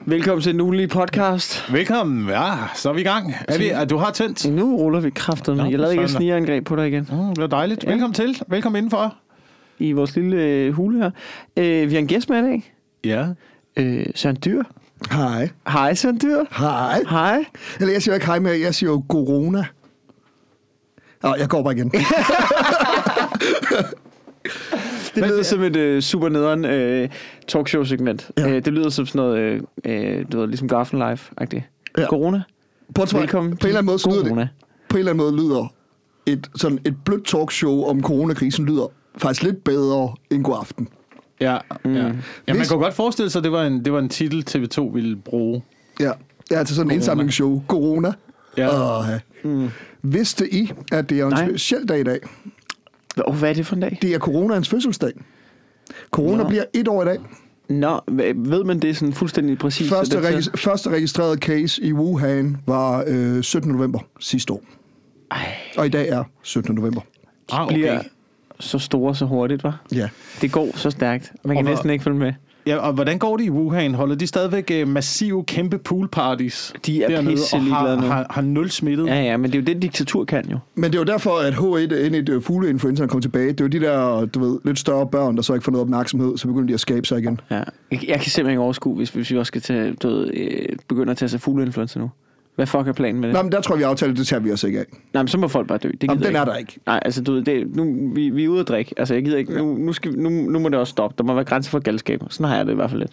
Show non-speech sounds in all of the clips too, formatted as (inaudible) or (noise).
Velkommen til den ugenlige podcast. Velkommen. Ja, så er vi i gang. Er vi, er, du har tændt. Nu ruller vi kraften. Nå, Jeg lavede ikke et fandme. snigerangreb på dig igen Mm, det var dejligt. Ja. Velkommen til. Velkommen indenfor. i vores lille øh, hule her. Øh, vi har en gæst med i dag. Ja. Øh, Søren Dyr. Hej. Hej Søren Dyr. Hej. Hej. Eller jeg siger jo ikke hej mere, jeg siger jo corona. Nå, jeg går bare igen. Det lyder som et øh, super nederen øh, talkshow-segment. Ja. Ja. Øh, det lyder som sådan noget, øh, øh, du ved, ligesom Garfen Live-agtigt. Ja. Ja. Corona. Portræt. Velkommen På en eller anden måde til lyder det. corona. På en eller anden måde lyder et, sådan et blødt talkshow om coronakrisen lyder faktisk lidt bedre end god aften. Ja, mm. ja. ja man Hvis- kunne godt forestille sig, at det var en, det var en titel, TV2 ville bruge. Ja, ja til sådan en indsamlingsshow. Corona. Ja. Åh, ja. Mm. Vidste I, at det er jo en Nej. speciel dag i dag? Oh, hvad er det for en dag? Det er coronaens fødselsdag. Corona Nå. bliver et år i dag. Nå, hva- ved man det sådan fuldstændig præcis? Første, Er det regis- første registrerede case i Wuhan var øh, 17. november sidste år. Ej, Og i dag er 17. november. Ah, okay. bliver så store så hurtigt, var. Ja. Det går så stærkt. Man Og kan hvor- næsten ikke følge med. Ja, og hvordan går det i Wuhan? Holder de stadigvæk øh, massive, kæmpe poolparties De er dernede, pisse og har, ligeglade nu. har, har nul smittet? Ja, ja, men det er jo det, diktatur kan jo. Men det var derfor, at H1N1 øh, fugleinfluenzaen kom tilbage. Det var de der, du ved, lidt større børn, der så ikke får noget opmærksomhed, så begyndte de at skabe sig igen. Ja. Jeg, jeg kan simpelthen ikke overskue, hvis, hvis vi også skal tage, du ved, øh, begynde at tage sig fugleinfluenza nu. Hvad fuck er planen med det? Nå, Nej, men der tror jeg, vi aftalte, det tager vi os ikke af. Nej men så må folk bare dø. Det gider Jamen, den jeg er ikke. der ikke. Nej, altså du ved, det, nu, vi, vi er ude at drikke. Altså jeg gider ikke. Nu, nu, skal, vi- nu, nu må det også stoppe. Der må være grænser for galskab. Sådan har jeg det i hvert fald lidt.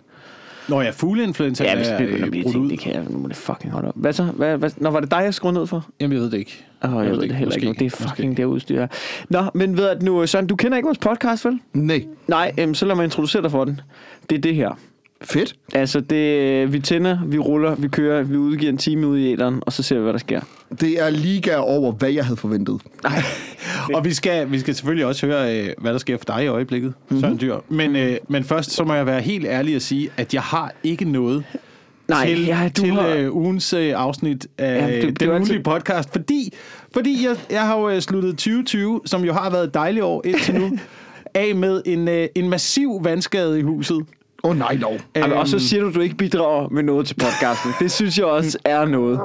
Nå ja, fugleinfluenza Ja, hvis er øh, det begynder at blive brudt ting, ud. det kan jeg. Nu må det fucking holde op. Hvad så? Hvad, hvad? Nå, var det dig, jeg skruede ned for? Jamen, jeg ved det ikke. Åh, oh, jeg ved det heller ikke. nu. Det er fucking det her udstyr. her. Nå, men ved at nu, øh, Søren, du kender ikke vores podcast, vel? Nej. Nej, øhm, så lad mig introducere dig for den. Det er det her. Fedt. Altså, det, øh, vi tænder, vi ruller, vi kører, vi udgiver en time ud i æderen, og så ser vi, hvad der sker. Det er liga over, hvad jeg havde forventet. Og vi skal, vi skal selvfølgelig også høre, øh, hvad der sker for dig i øjeblikket, Mhm. mm-hmm. Søren Dyr. Men, øh, men først, så må jeg være helt ærlig og sige, at jeg har ikke noget Nej, til, ja, du til har- øh, ugens øh, afsnit af Jamen, Jamen, det- det det, det den er jo ugenlige altid- podcast, fordi, fordi jeg, jeg har jo øh, sluttet 2020, som jo har været et dejligt år indtil (laughs) nu, af med en, øh, en massiv vandskade i huset. Åh oh, nej dog. Øhm. Og så siger du, at du ikke bidrager med noget til podcasten. Det synes jeg også er noget,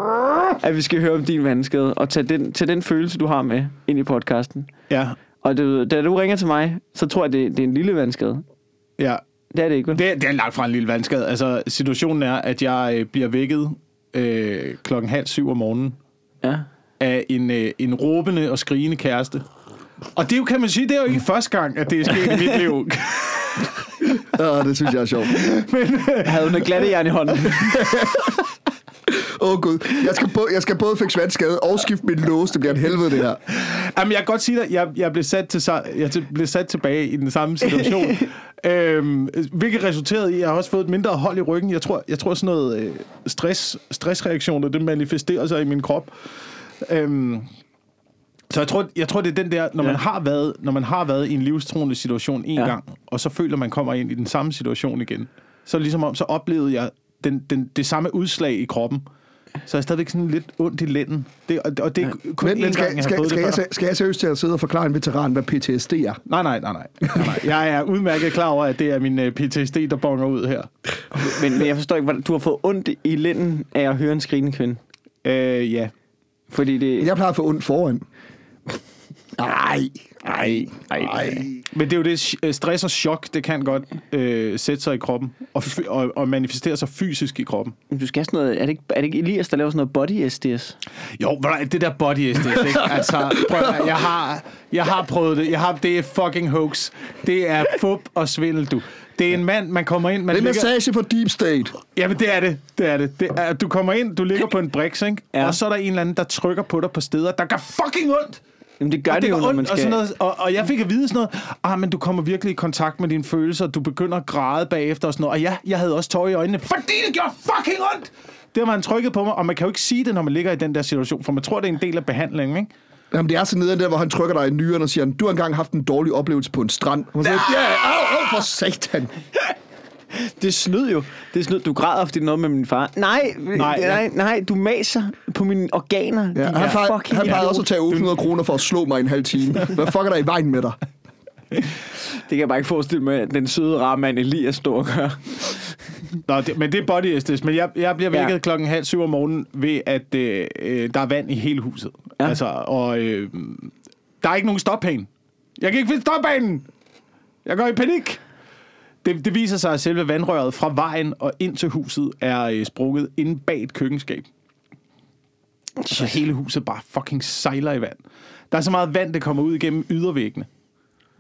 at vi skal høre om din vandskade, og tage den, tage den følelse, du har med ind i podcasten. Ja, Og det, da du ringer til mig, så tror jeg, det, det er en lille vandskade. ja. Det er det ikke, vel? Det, det er langt fra en lille vandskade. Altså, situationen er, at jeg øh, bliver vækket øh, klokken halv syv om morgenen Ja. af en, øh, en råbende og skrigende kæreste. Og det er jo, kan man sige, det er jo ikke første gang, at det er sket i mit liv. Uh, det synes jeg er sjovt. Jeg havde noget glatte jern i hånden. (laughs) (laughs) Åh oh, gud. Jeg skal, både, jeg skal både fik svatskade og skifte mit lås. Det bliver en helvede, det her. Jamen, jeg kan godt sige dig, jeg, jeg, blev sat til, sa- jeg til, blev sat tilbage i den samme (laughs) situation. øhm, hvilket resulterede i, at jeg har også fået et mindre hold i ryggen. Jeg tror, jeg tror sådan noget øh, stress, stressreaktioner, det manifesterer sig i min krop. Øhm, så jeg tror, jeg tror, det er den der, når, ja. man har været, når man har været i en livstruende situation en Ja. ja. gang, og så føler man kommer ind i den samme situation igen, så ligesom om, så oplevede jeg den, den, det samme udslag i kroppen. Så jeg er stadigvæk sådan lidt ondt i lænden. Det, og, og det er ja. kun Men, én men gang, jeg skal, har fået skal, skal, det jeg, før. se- skal jeg seriøst til at sidde og forklare en veteran, hvad PTSD er? Nej, nej, nej, nej. nej, nej. Jeg er udmærket klar over, at det er min øh, PTSD, der bonger ud her. Men, men jeg forstår ikke, hvordan du har fået ondt i lænden af at høre en skrigende kvinde. Øh, ja. Fordi det... Jeg plejer at få ondt foran. Ej, ej, ej. Ej. Men det er jo det, øh, stress og chok, det kan godt øh, sætte sig i kroppen, og, fy- og, og manifestere sig fysisk i kroppen. Men Du skal have sådan noget... Er det ikke, er det ikke Elias, der laver sådan noget body SDS? Jo, ved du hvad, det der body SDS, ikke? (laughs) Altså, prøv at, høre, jeg, har, jeg har prøvet det. Jeg har, det er fucking hoax. Det er fup og svindel, du. Det er en mand, man kommer ind... Man Det er ligger- massage for Deep State. Jamen, det er det. Det er det. det er, du kommer ind, du ligger på en briks, ikke? Ja. Ja. Og så er der en eller anden, der trykker på dig på steder, der gør fucking ondt! Jamen det gør det, og det, det jo, var når ondt, man skal... og, sådan noget, og, og jeg fik at vide sådan noget, ah, men du kommer virkelig i kontakt med dine følelser, du begynder at græde bagefter og sådan noget. Og ja, jeg havde også tårer i øjnene, fordi det gjorde fucking ondt! Det har man trykket på mig, og man kan jo ikke sige det, når man ligger i den der situation, for man tror, det er en del af behandlingen, ikke? Jamen, det er sådan nede der, hvor han trykker dig i nyeren og siger, du har engang haft en dårlig oplevelse på en strand. Og man siger, ja, au, au, for satan. Det er snyd jo. Det er snyd. Du græder, fordi det er noget med min far. Nej, nej, ja. nej, nej du maser på mine organer. Ja, din han plejer, fucking han plejer idiot. også at tage 800 kroner for at slå mig i en halv time. Hvad fuck er der i vejen med dig? Det kan jeg bare ikke forestille mig, at den søde rarmand Elias står og gør. Nå, det, men det er body SDS. Men jeg, jeg bliver Ja. vækket ja. klokken halv syv om morgenen ved, at øh, øh, der er vand i hele huset. Ja. Ja. Altså, og øh, der er ikke nogen stoppane. Jeg kan ikke finde stopbanen! Jeg går i panik! Det, det viser sig, at selve vandrøret fra vejen og ind til huset er øh, sprunget inde bag et køkkenskab. Så hele huset bare fucking sejler i vand. Der er så meget vand, det kommer ud igennem ydervæggene.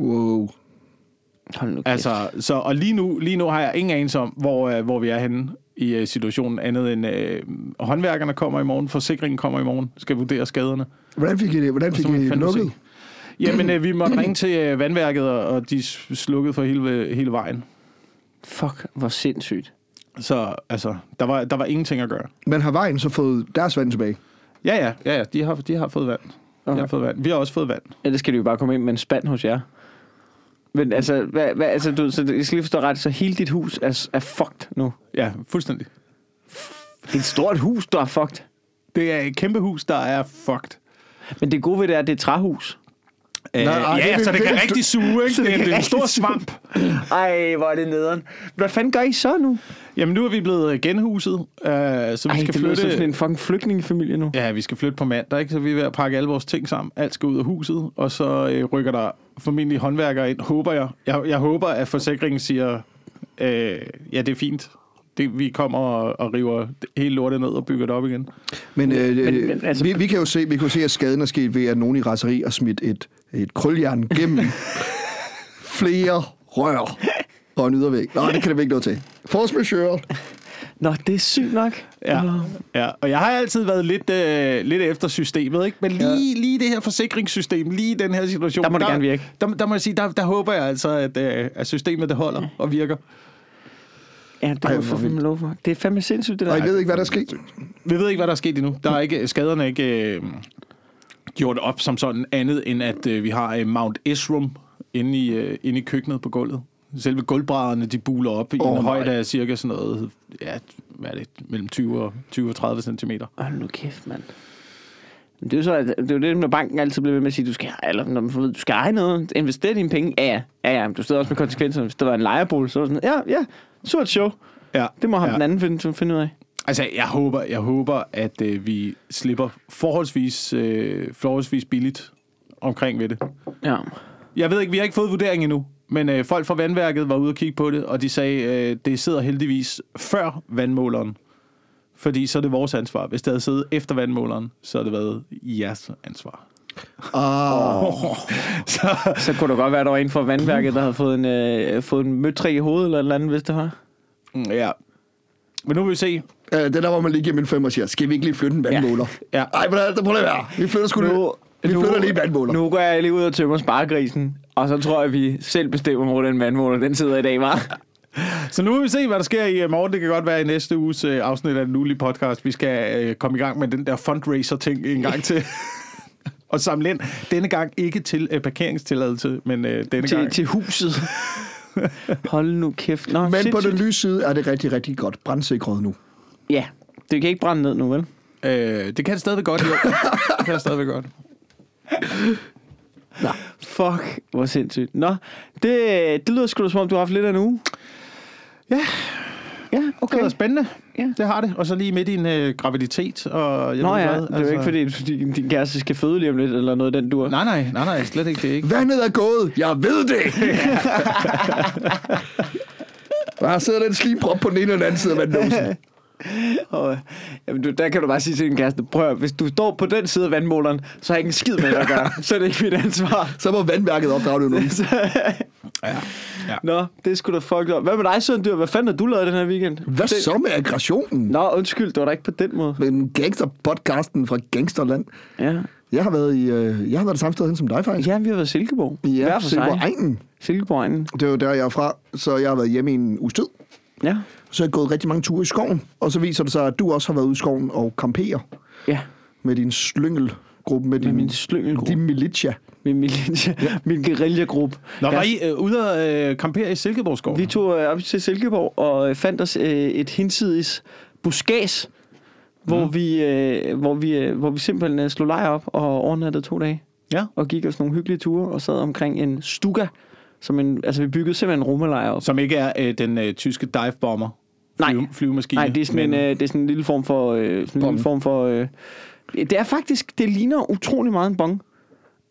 Wow. Hold nu kæft. Altså, så, og lige nu, lige nu har jeg ingen anelse om, hvor, øh, hvor vi er henne i øh, situationen, andet end øh, håndværkerne kommer i morgen, forsikringen kommer i morgen, skal vurdere skaderne. Hvordan fik I det? Hvordan fik Så må I vi det fandme lukket? se. Jamen, øh, vi måtte ringe til øh, vandværket, og, og de s- slukkede for hele, hele vejen. Fuck, hvor sindssygt. Så altså, der var, der var ingenting at gøre. Men har vejen så fået deres vand tilbage? Ja, ja, ja, ja de, har, de har fået vand. Okay. Jeg har fået vand. Vi har også fået vand. Ellers skal de jo bare komme ind med en spand hos jer. Men altså, hvad, hvad, altså du, så jeg skal lige forstå ret, så hele dit hus er, er fucked nu. Ja, fuldstændig. Det er et stort hus, der er fucked. Det er et kæmpe hus, der er fucked. Men det gode ved det er, at det er et træhus. Æh, nej, ja, det- ja, så det det- kan det- rigtig suge, ikke? så Det, det er- kan det er en rigtig stor suge. svamp. Ej, hvor er det nederen. Hvad fanden gør I så nu? Jamen, nu er vi blevet genhuset, øh, så vi Ej, skal det lyder flytte... som sådan en fucking flygtningefamilie nu. Ja, vi skal flytte på mandag, ikke? så vi er ved at pakke alle vores ting sammen. Alt skal ud af huset, og så øh, rykker der formentlig håndværkere ind, håber jeg. Jeg, jeg håber, at forsikringen siger, øh, ja, det er fint. Det, vi kommer og, og river hele lortet ned og bygger det op igen. Men, øh, men- men, men men altså- altså... vi, vi, kan jo se, vi kan jo se, at skaden er sket ved, at nogen i raseri har smidt et, et krøljern gennem flere rør og en ydervæg. Nå, det kan det ikke noget til. Force majeure. Nå, det er sygt nok. Ja, Nå. ja. og jeg har altid været lidt, øh, lidt efter systemet, ikke? men lige, ja. lige det her forsikringssystem, lige den her situation, Der må det gerne virke. Der, der må jeg sige, der, der håber jeg altså, at, øh, at systemet det holder og virker. Ja, det Ej, må hvor jeg fandme vildt. lov for. Det er fandme sindssygt, det der. Og I ved ikke, hvad der er sket. Vi ved ikke, hvad der er sket endnu. Der er ikke, skaderne er ikke øh, gjort op som sådan andet, end at øh, vi har øh, Mount Esrum inde i, øh, inde i køkkenet på gulvet. Selve gulvbrædderne, de buler op i Åh, en nej. højde af cirka sådan noget, ja, hvad er det, mellem 20 og, 20 og 30 centimeter. Hold nu kæft, mand. Men Det er jo så, at det er jo det, når banken altid bliver ved med at sige, du skal, eller, når man får at vide, du skal eje noget, investere dine penge. Ja, ja, ja, ja men du sidder også med konsekvenserne. Hvis der var en lejerbolig, så var det sådan, ja, ja, surt show. Ja, Det må ham ja. ja. den anden finde, finde ud af. Altså, jeg håber, jeg håber at øh, vi slipper forholdsvis, øh, forholdsvis billigt omkring ved det. Ja. Jeg ved ikke, vi har ikke fået vurdering endnu, men øh, folk fra vandværket var ude og kigge på det, og de sagde, øh, det sidder heldigvis før vandmåleren. Fordi så er det vores ansvar. Hvis det havde siddet efter vandmåleren, så har det været jeres ansvar. Ah, oh. (laughs) Så, Så kunne det godt være, at der var en fra vandværket, der havde fået en, øh, fået en møtrik i hovedet eller et eller andet, hvis det var. ja. Men nu vil vi se. Øh, det er der, hvor man lige giver min fem og siger, skal vi ikke lige flytte en vandmåler? Ja. Ej, men altså, prøv lige at være. Vi flytter sgu nu, Vi flytter lige en vandmåler. Nu går jeg lige ud og tømmer sparegrisen, og så tror jeg, at vi selv bestemmer, hvor den vandmåler, den sidder i dag, var. Så nu vil vi se, hvad der sker i øh, morgen. Det kan godt være i næste uges øh, afsnit af den ulige podcast. Vi skal øh, komme i gang med den der fundraiser-ting en gang (laughs) til. og samle ind. Denne gang ikke til øh, parkeringstilladelse, men øh, denne Til, gang... til (laughs) huset. Hold nu kæft. Nå, Men på sindssygt. den lyse side er det rigtig, rigtig godt brandsikret nu. Ja, det kan ikke brænde ned nu, vel? Øh, det kan det stadigvæk godt, jo. (laughs) det kan det stadigvæk godt. Fuck, hvor sindssygt. Nå, det, det lyder sgu da som om, du har haft lidt af en uge. Ja. Ja, Okay. Det okay. er spændende. Ja. Ja. Det har det. Og så lige midt i en øh, graviditet. Og jeg Nå ved ja, hvad, Altså- det er jo ikke fordi, din, din kæreste skal føde lige om lidt, eller noget af den dur. Nej, nej, nej, nej, slet ikke det. er (laughs) Ikke. Vandet er gået. Jeg ved det. Der sidder den slimprop på den ene og den anden side af vandlåsen. Og, øh, jamen, du, der kan du bare sige til din kæreste, prøv at, høre, hvis du står på den side af vandmåleren, så har jeg ikke en skid med dig at gøre. så er det ikke mit ansvar. (laughs) Så må vandværket opdrage det nu. Nå, det skulle da fuck op. Hvad med dig, Søren Dyr? Hvad fanden har du lavet den her weekend? Hvad det... så med aggressionen? Nå, undskyld, det var da ikke på den måde. Men gangsterpodcasten fra Gangsterland. Ja, Jeg har været, i, øh, jeg har været det samme sted hen som dig, faktisk. ja vi har været i Silkeborg. I Hver for sig. Silkeborg Egnen. Silkeborg Egnen. Det er jo der, jeg er fra. Så jeg har været hjemme i en uges tid. Ja. Så har jeg gået rigtig mange ture i skoven. Og så viser det sig, at du også har været ude i skoven og kamperer Ja, med din slyngelgruppe. Med, med din, min slyngelgruppe. din militia. Min, militia, min guerillagruppe. Nå, var Ja, I øh, ude og øh, kampere i Silkeborgsgården? Vi tog øh, op til Silkeborg og øh, fandt os øh, et hinsides buskæs, hvor, vi, øh, hvor, vi, øh, hvor vi simpelthen øh, slog lejr op og overnattede to dage. Ja. Og gik os nogle hyggelige ture og sad omkring en stuga. Som en, altså vi byggede simpelthen en rumalejr op. Som ikke er øh, den øh, tyske divebomber Nej. flyve, flyvemaskine. Nej, det er sådan, en, øh, det er sådan en lille form for... Øh, sådan en lille Bong. form for øh, det er faktisk... Det ligner utrolig meget en bong.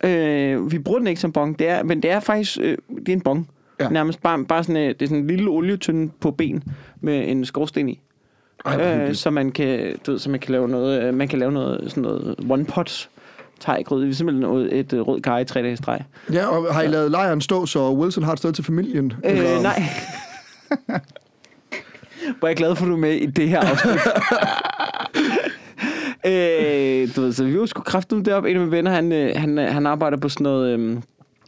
Øh, vi bruger den ikke som bong, det er, men det er faktisk... Øh, det er en bong. Ja. Ja. Nærmest bare, bare sådan, øh, det er sådan en lille olietønde på ben med en skorsten i. Ej, hvor øh, hyggeligt. så man kan, du ved, så man kan lave noget, øh, man kan lave noget, sådan noget one pots teggrød. Vi er simpelthen ud- et øh, rød kar i tre dage i streg. Ja, og har I lavet lejren stå, så Wilson har et sted til familien? Øh, nej. Hvor er jeg glad for, at du er med i det her (laughs) afsnit. øh, du ved, så vi var sgu kraftigt derop. En af mine venner, han, øh, han, øh, han arbejder på sådan noget... Øhm,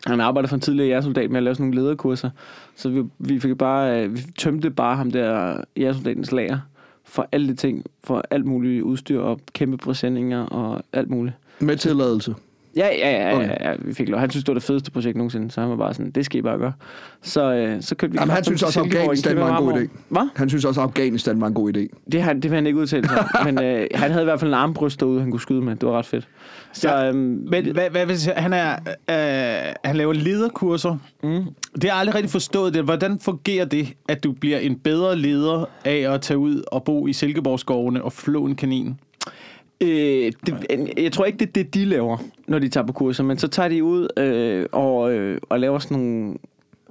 han arbejder for en tidligere jægersoldat med at lave sådan nogle lederkurser. Så vi, vi fik bare, øh, vi tømte bare ham der jægersoldatens lager for alle de ting, for alt muligt udstyr og kæmpe presendinger og alt muligt. Med tilladelse. Ja, ja, ja, ja, Okay. ja, ja, vi fik lov. Han synes, det var det fedeste projekt nogensinde, så han var bare sådan, det skal I bare gøre. Så, øh, så købte vi... Jamen, han kraftigt synes til også, Silkeborg en Afghanistan kæmpe var en god varmovn. idé. Hvad? Han synes også, at Afghanistan var en god idé. Det, har, det vil han ikke udtale (laughs) sig om, men øh, han havde i hvert fald en armbryst derude, han kunne skyde med. Det var ret fedt. Så, Ja, øhm, men, Men hvad, hvad hvis han er, øh, han laver lederkurser. Mm. Det har jeg aldrig rigtig forstået. Det. Hvordan fungerer det, at du bliver en bedre leder af at tage ud og bo i Silkeborgskovene og flå en kanin? øh, det, jeg tror ikke, det er det, de laver, når de tager på kurser, men så tager de ud øh, og, øh, og laver sådan nogle,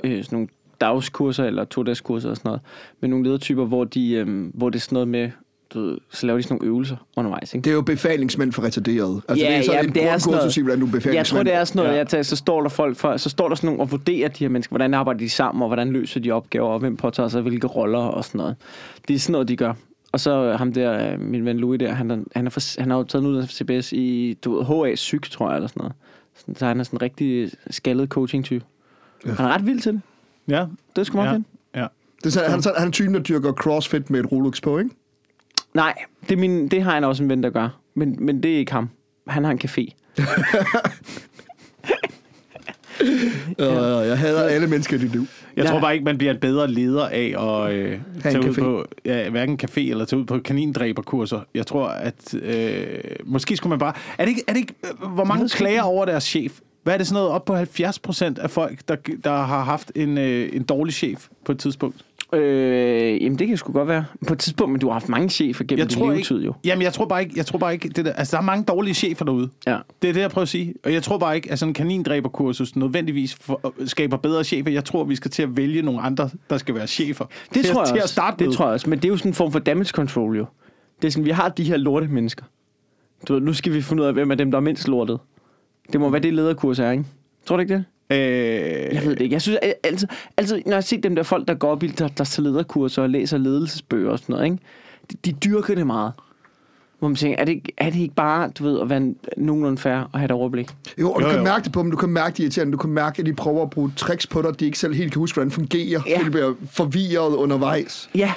øh, sådan nogle dagskurser eller to-dagskurser og sådan noget, med nogle ledertyper, hvor, de, øh, hvor det er sådan noget med, du ved, så laver de sådan nogle øvelser undervejs, ikke? Det er jo befalingsmænd for retarderede. Altså, det er sådan men et grundkursus i, hvordan du er befalingsmand. Jeg tror, det er sådan noget, Ja. ja. tager, så står der folk for, så står der sådan nogle og vurderer de her mennesker, hvordan arbejder de sammen, og hvordan løser de opgaver, og hvem påtager sig hvilke roller og sådan noget. Det er sådan noget, de gør. Og så øh, ham der, øh, min ven Louis der, han, er- han, er for, han har jo taget en uddannelse fra CBS i du ved, HA Psyk, tror jeg, eller sådan noget. Sådan- Så han er sådan en rigtig skaldet coaching-type. Ja. Han er ret vild til det. Ja. Det skal man ja. ja. finde. ja. Det er sådan, han, er sådan- han er typen, der dyrker crossfit med et Rolex på, ikke? Nej, det, er min, det har han også en ven, der gør. Men, men det er ikke ham. Han har en café. Ja. Øh, jeg hader alle mennesker i dit liv. Jeg Ja. tror bare ikke, man bliver en bedre leder af at øh, tage ud café. på ja, hverken café eller tage ud på kanindræberkurser. Jeg tror, at øh, måske skulle man bare... Er det ikke, er det ikke øh, hvor mange klager over deres chef? Hvad er det sådan noget op på 70 procent af folk, der, der har haft en, øh, en dårlig chef på et tidspunkt? Øh, jamen, det kan sgu godt være. På et tidspunkt, men du har haft mange chefer gennem Jeg din tror levetid, ikke, jo. Jamen, jeg tror bare ikke, jeg tror bare ikke det der, altså, der er mange dårlige chefer derude. Ja. Det er det, jeg prøver at sige. Og jeg tror bare ikke, at sådan en kanindræberkursus nødvendigvis for, øh, skaber bedre chefer. Jeg tror, vi skal til at vælge nogle andre, der skal være chefer. Det til, tror jeg til At også. starte det med. tror jeg også. Men det er jo sådan en form for damage control, jo. Det er sådan, vi har de her lorte mennesker. Du ved, nu skal vi finde ud af, hvem er dem, der er mindst lortet. Det må være det lederkurs er, ikke? Tror du ikke det? Øh, Jeg ved det ikke. Jeg synes, al- altid, altid, når jeg ser dem der folk, der går op i der, der tager lederkurser og læser ledelsesbøger og sådan noget, ikke? De, de dyrker det meget. Hvor man tænker, er det, ikke- er det ikke bare, du ved, at være nogenlunde fair og have et overblik? Jo, og du Jo, jo, kan jo. mærke det på dem, du kan mærke de irriterende, du kan mærke, at de prøver at bruge tricks på dig, de ikke selv helt kan huske, hvordan det fungerer, Ja. ja. de bliver forvirret undervejs. Ja,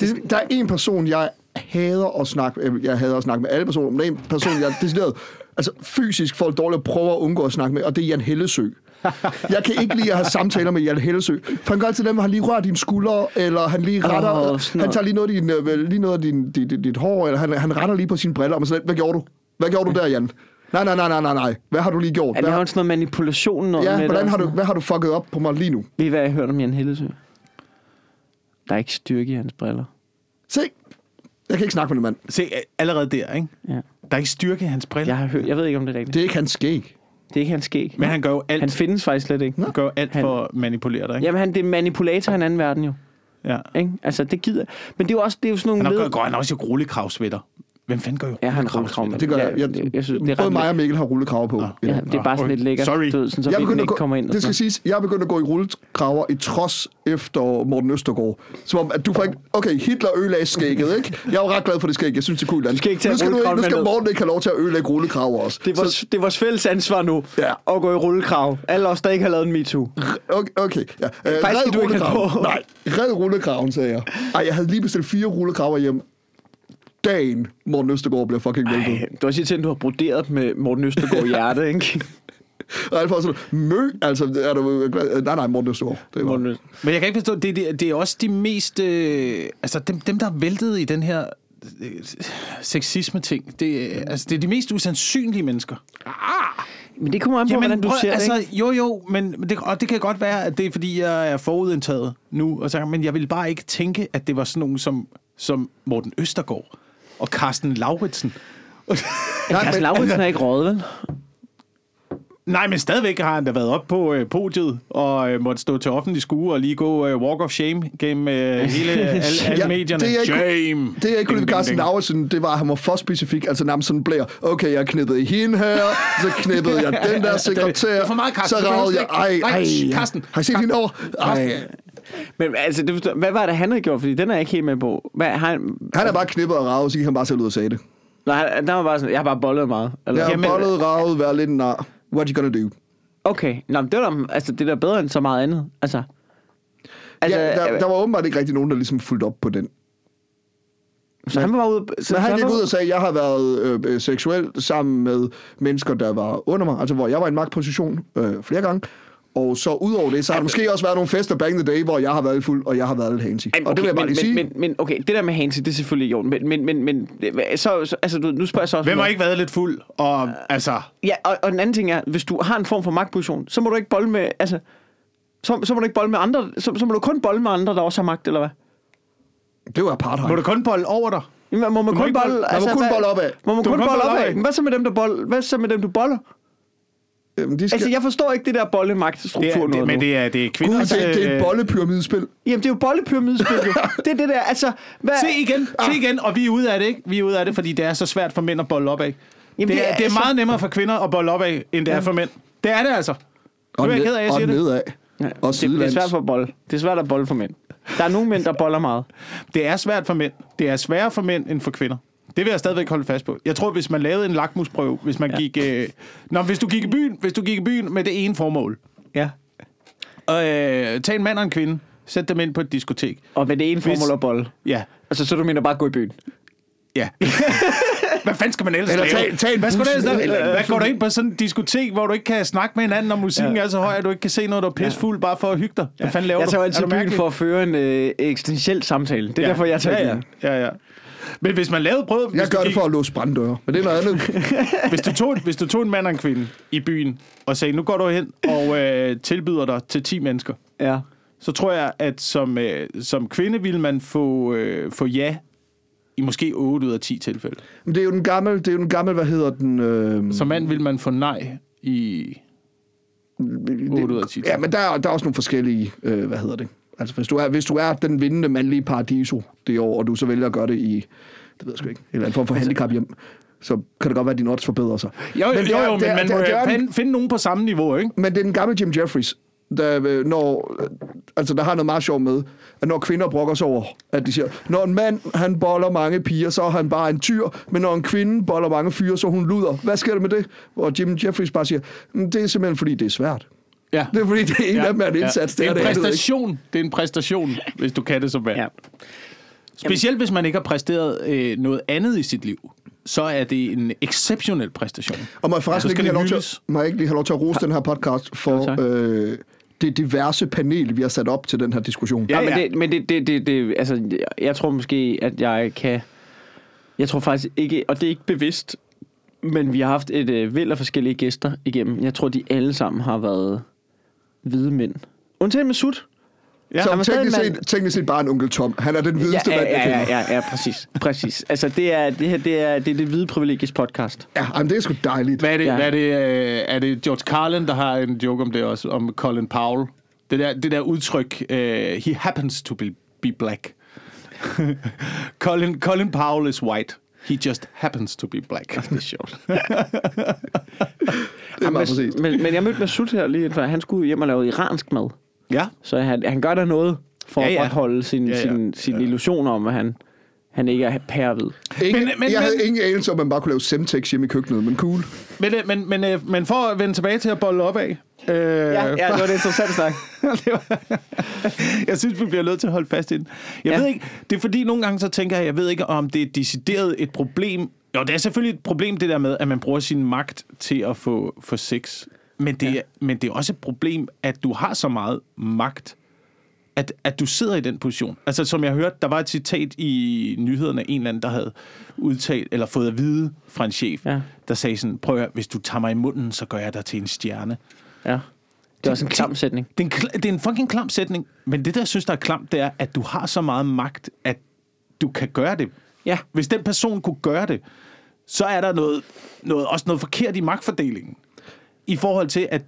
Det, der er en person, jeg hader at snakke øh, Jeg hader at snakke med alle personer, men der er en person, jeg decideret, altså fysisk får det dårligt at prøve at undgå at snakke med, og det er Jan Hellesø. Jeg kan ikke lide at have samtaler med Jan Hellesø. For han gør altid dem, hvor han lige rører dine skuldre, eller han lige retter, Åh, oh, sådan han noget. tager lige noget af, din, øh, vel, lige noget af din, dit, dit, dit hår, eller han, han retter lige på sine briller, og man sådan, lidt, hvad gjorde du? Hvad gjorde du der, Jan? Nej, nej, nej, nej, nej, nej. Hvad har du lige gjort? han Hvad, laver sådan noget manipulation. Noget med ja, det hvordan og har sådan du, hvad har du fucket op på mig lige nu? Ved I, hvad jeg hørte om Jan Hellesø? Der er ikke styrke i hans briller. Se, jeg kan ikke snakke med den mand. Se, allerede der, ikke? Ja. Der er ikke styrke i hans briller. Jeg, har Ja. hørt, jeg ved ikke, om det er rigtigt. Det er ikke hans skæg. Det er ikke hans skæg. Men han gør jo alt, Han han findes faktisk slet ikke. gør jo alt Han- for at manipulere dig, ikke? Jamen, han, det er manipulator i en anden verden jo. Ja. Ikke? Altså, det gider. Men det er jo også det er jo sådan Han nogle har, gør, gør han også i rullekravsvætter. Hvem fanden gør jo Ja, han har rullekravsvætter? rullekravsvætter. Det gør Ja, jeg. Jeg, det- jeg, jeg jeg synes, synes, det er ret både mig og Mikkel har rullekrave på. Ja. Ja, det er bare sådan Nå, lidt lækkert. sorry. Du ved, sådan, så Jeg jeg begynder, ikke at gå, kommer ind. og det sådan skal siges, jeg er begyndt at gå i rullekraver i trods efter Morten Østergaard. Som om, at du får ikke... Okay, Hitler ødelagde skægget, ikke? Jeg er jo ret glad for det skæg. Jeg synes, det er cool. Du skal ikke tage nu skal, du, ikke- rullekraven nu med skal ned. Morten ikke have lov til at ødelægge rullekraver også. noget. det er, vores, det er vores fælles ansvar nu Ja. at gå i rullekrav. Alle os, der ikke har lavet en MeToo. Okay, okay. Ja. Øh, red du ikke have rullekraven. på. Nej, red rullekraven, sagde jeg. Ej, jeg havde lige bestilt fire rullekraver hjem. Dagen Morten Østergaard bliver fucking væltet. Du har sige til, at du har broderet dem med Morten Østergaard i hjerte, ikke? Og Alfa også sådan, mø, altså, er du glad? Nej, nej, Morten Østergaard. Det var. Morten Øst- Men jeg kan ikke forstå, det, det, det er også de mest... Øh, altså, dem, dem, der er væltet i den her øh, sexisme-ting, det, er- altså, det er de mest usandsynlige mennesker. Men det kommer an på, Jamen, hvordan du ser altså, det, ikke? Jo, jo, men men det, og det kan godt være, at det er, fordi jeg er forudindtaget nu, og så, men jeg vil bare ikke tænke, at det var sådan nogen som, som Morten Østergaard og Carsten Lauritsen. Nej, Carsten men- Lauritsen er ikke røget, vel? Nej, men stadigvæk har han da været op på øh, podiet og øh, måtte stå til offentlig skue og lige gå øh, walk of shame gennem øh, (laughs) hele alle, alle Ja, medierne. det er ikke- shame! Det, jeg ikke kunne lide ved Carsten Ding, ding, Lauritsen, det var, at han var for specifik. Altså nærmest sådan blære. Okay, jeg knippede i hende her, så (laughs) knippede jeg den der sekretær. det er for meget, Carsten. Så Det behøver ravede jeg. du Ej, ikke. Nej, ej, shh, ja. Carsten. Har I set hende over? Ej. Men altså, det forstår, hvad var det, han havde gjort? Fordi den er jeg ikke helt med på. Hvad, han, Han er bare knippet og ravet, så gik han bare selv ud og sagde det. nej, han- der var bare sådan, jeg har bare bollet meget. Eller, Jeg har Jamen- bollet, ravet, været lidt en nar. What you gonna do? Okay, Nå, men det er da altså, det er da bedre end så meget andet. Altså, altså Altså, ja, der, øh, der, var åbenbart ikke rigtig nogen, der ligesom fulgte op på den. øh, så han var bare ude... Så, Men så han gik var- ud og sagde, at jeg har været øh, øh, seksuel sammen med mennesker, der var under mig, altså hvor jeg var i en magtposition øh, flere gange. Og så udover det, så har der måske også været nogle fester back in the day, hvor jeg har været lidt fuld, og jeg har været lidt handsy. Ej, men og det vil jeg bare men, lige sige. Men, men, men okay, det der med Hansi, det er selvfølgelig i orden. Men, men, men, men øh, så, så, altså, du, nu spørger jeg så også... om Hvem har noget. ikke været lidt fuld? Og altså, Ja, og, og den anden ting er, hvis du har en form for magtposition, så må du ikke bolle med... Altså, så, så må du ikke bolle med andre... Så, så må du kun bolle med andre, der også har magt, eller hvad? det var apartheid. må du kun bolde over dig? Jamen, må man må kun ikke bolle- bolle... altså, man må kun hvad- bolle opad. Må man Du må kun kun bolle bolle opad? opad. Men Hvad så med dem, der bolle? Hvad så med dem, du boller? Øhm, de skal... Altså, jeg forstår ikke det der Det er, bollemagtstruktur det, noget men nu. det er, det er Gud, kvinders... det, det er øh, et bollepyramidespil. Jamen, det altså, er jo bollepyramidespil. (laughs) jo. det er det der, altså... Hvad, Se igen, se igen, og vi er ude af det, ikke? Vi er ude af det, fordi det er så svært for mænd at bolle op af. Jamen, det, er, det er altså- meget nemmere for kvinder at bolle op af, end det er for mænd. Det er det altså. Nu er jeg ked af, at jeg og siger det. nedad. Ja, Og det, det er sidelands. svært for bold. Det er svært at bolle for mænd. Der er nogle mænd, der boller meget. Det er svært for mænd. Det er sværere for mænd end for kvinder. Det vil jeg stadigvæk holde fast på. Jeg tror, hvis man lavede en lakmusprøve, hvis man ja. gik... Øh... Nå, hvis du gik i byen, hvis du gik i byen med det ene formål. Ja. Og, øh, tag en mand og en kvinde, sæt dem ind på et diskotek. Og med det ene Hvis- formål at bolle. Ja, Altså, så du mener bare at gå i byen. (laughs) Ja. hvad fanden skal man ellers Eller lave? tag- tag en hvad, skal du bus. ellers lave? Eller- hvad går du ind på sådan en diskotek, hvor du ikke kan snakke med hinanden, og musikken Ja. ja. er så høj, at du ikke kan se noget, der er pissefuld, bare for at hygge dig? Hvad fanden laver jeg du? tager jo Er altid du byen mærkelig? for at føre en øh, eksistentiel samtale. Det er ja. derfor, jeg tager ja, byen. ja. ja, ja. Men hvis man lavede prøve... Jeg hvis, gør du det for at låse branddøre, men det er (laughs) noget andet. hvis, du tog, hvis du tog en mand og en kvinde i byen, og sagde, nu går du hen og øh, tilbyder dig til 10 mennesker, Ja. så tror jeg, at som, øh, som kvinde ville man få, øh, få ja i måske 8 ud af 10 tilfælde. Men det er jo den gamle, det er jo den gamle, hvad hedder den? Øh... Som mand ville man få nej i 8 ud af 10 Ja, men der, er- der er også nogle forskellige, øh, hvad hedder det? Altså, hvis du, er, hvis du er den vindende mandlige paradiso det år, og du så vælger at gøre det i, det ved jeg sgu ikke, en eller anden form for handicap hjem, så kan det godt være, at dine odds forbedrer sig. Altså- Jo, jo, men, det jo, er- jo, men det er- man det må er- det er jo den- finde, finde nogen på samme niveau, ikke? Men det er den gamle Jim Jeffries, der, øh, når, øh, altså, der har noget meget sjovt med, at når kvinder brokker sig over, at de siger, når en mand han boller mange piger, så er han bare en tyr, men når en kvinde boller mange fyre, så er hun luder. Hvad sker der med det? Hvor Jim Jeffries bare siger, "Mm, det er simpelthen fordi, det er svært. Ja. Det er fordi, det er en ja, af dem er en indsats. Det er en det andet ikke. præstation. Det er en præstation, hvis du kan det som mand. ja. Ja. Specielt hvis man ikke har præsteret øh, noget andet i sit liv, så er det en exceptionel præstation. Og må jeg forresten Så ja, ikke skal lige det have lov til, hyldes. må jeg ikke lige have lov til at rose den her podcast for tak. ja, øh, det diverse panel, vi har sat op til den her diskussion. Ja, Ja, men, ja. det, men det, det, det, det, altså, jeg- jeg tror måske, at jeg kan... Jeg tror faktisk ikke, og det er ikke bevidst, men vi har haft et øh, væld af forskellige gæster igennem. Jeg tror, de alle sammen har været hvide mænd. Undtagen med Sut. Ja, der var Som stadig teknisk en set, mand- teknisk set bare en onkel Tom. Han er den videste ja, mand, jeg ja, ja, kender. ja, ja, præcis. præcis. Altså, det er det, her, det er det, er det hvide privilegies podcast. Ja, jamen, det er sgu dejligt. Hvad er det? Ja. Ja. Hvad er, det øh, er det George Carlin, der har en joke om det også, om Colin Powell? Det der, det der udtryk, øh, he happens to be, be black. (laughs) Colin, Colin Powell is white. He just happens to be black. Det er sjovt. Det er meget præcis. men, men, men jeg mødte Masud her lige før. Han skulle hjem og lave iransk mad. Ja. Så han, han gør der noget for ja, Ja, ja. at ja. opretholde sin, ja, Ja, ja. ja. sin, sin ja. illusion om, at han, han ikke er pærvid. Ingen, men, Men- men, men- jeg havde men- ingen anelse om, at man bare kunne lave Semtex hjemme i køkkenet, men cool. Men, øh, men, men, øh, men for at vende tilbage til at bolle op af. Øh, Ja, ja, det var det interessant snak. det var, (laughs) jeg synes, vi bliver nødt til at holde fast i den. Ja. Jeg ja. ved ikke, det er fordi nogle gange så tænker jeg, jeg ved ikke, om det er decideret et problem. Jo, det er selvfølgelig et problem det der med, at man bruger sin magt til at få, få sex. Men det, ja. men det er også et problem, at du har så meget magt, at, at du sidder i den position. Altså, som jeg hørte, der var et citat i nyhederne af en eller anden, der havde udtalt, eller fået at vide fra en chef, Ja. ja. der sagde sådan, prøv at høre, hvis du tager mig i munden, så gør jeg dig til en stjerne. Ja. Det er også en klam sætning. Det er en, kl- det er en fucking klam sætning, men det, der jeg synes, der er klamt, det er, at du har så meget magt, at du kan gøre det. Ja. Hvis den person kunne gøre det, så er der noget, noget, også noget forkert i magtfordelingen. I forhold til, at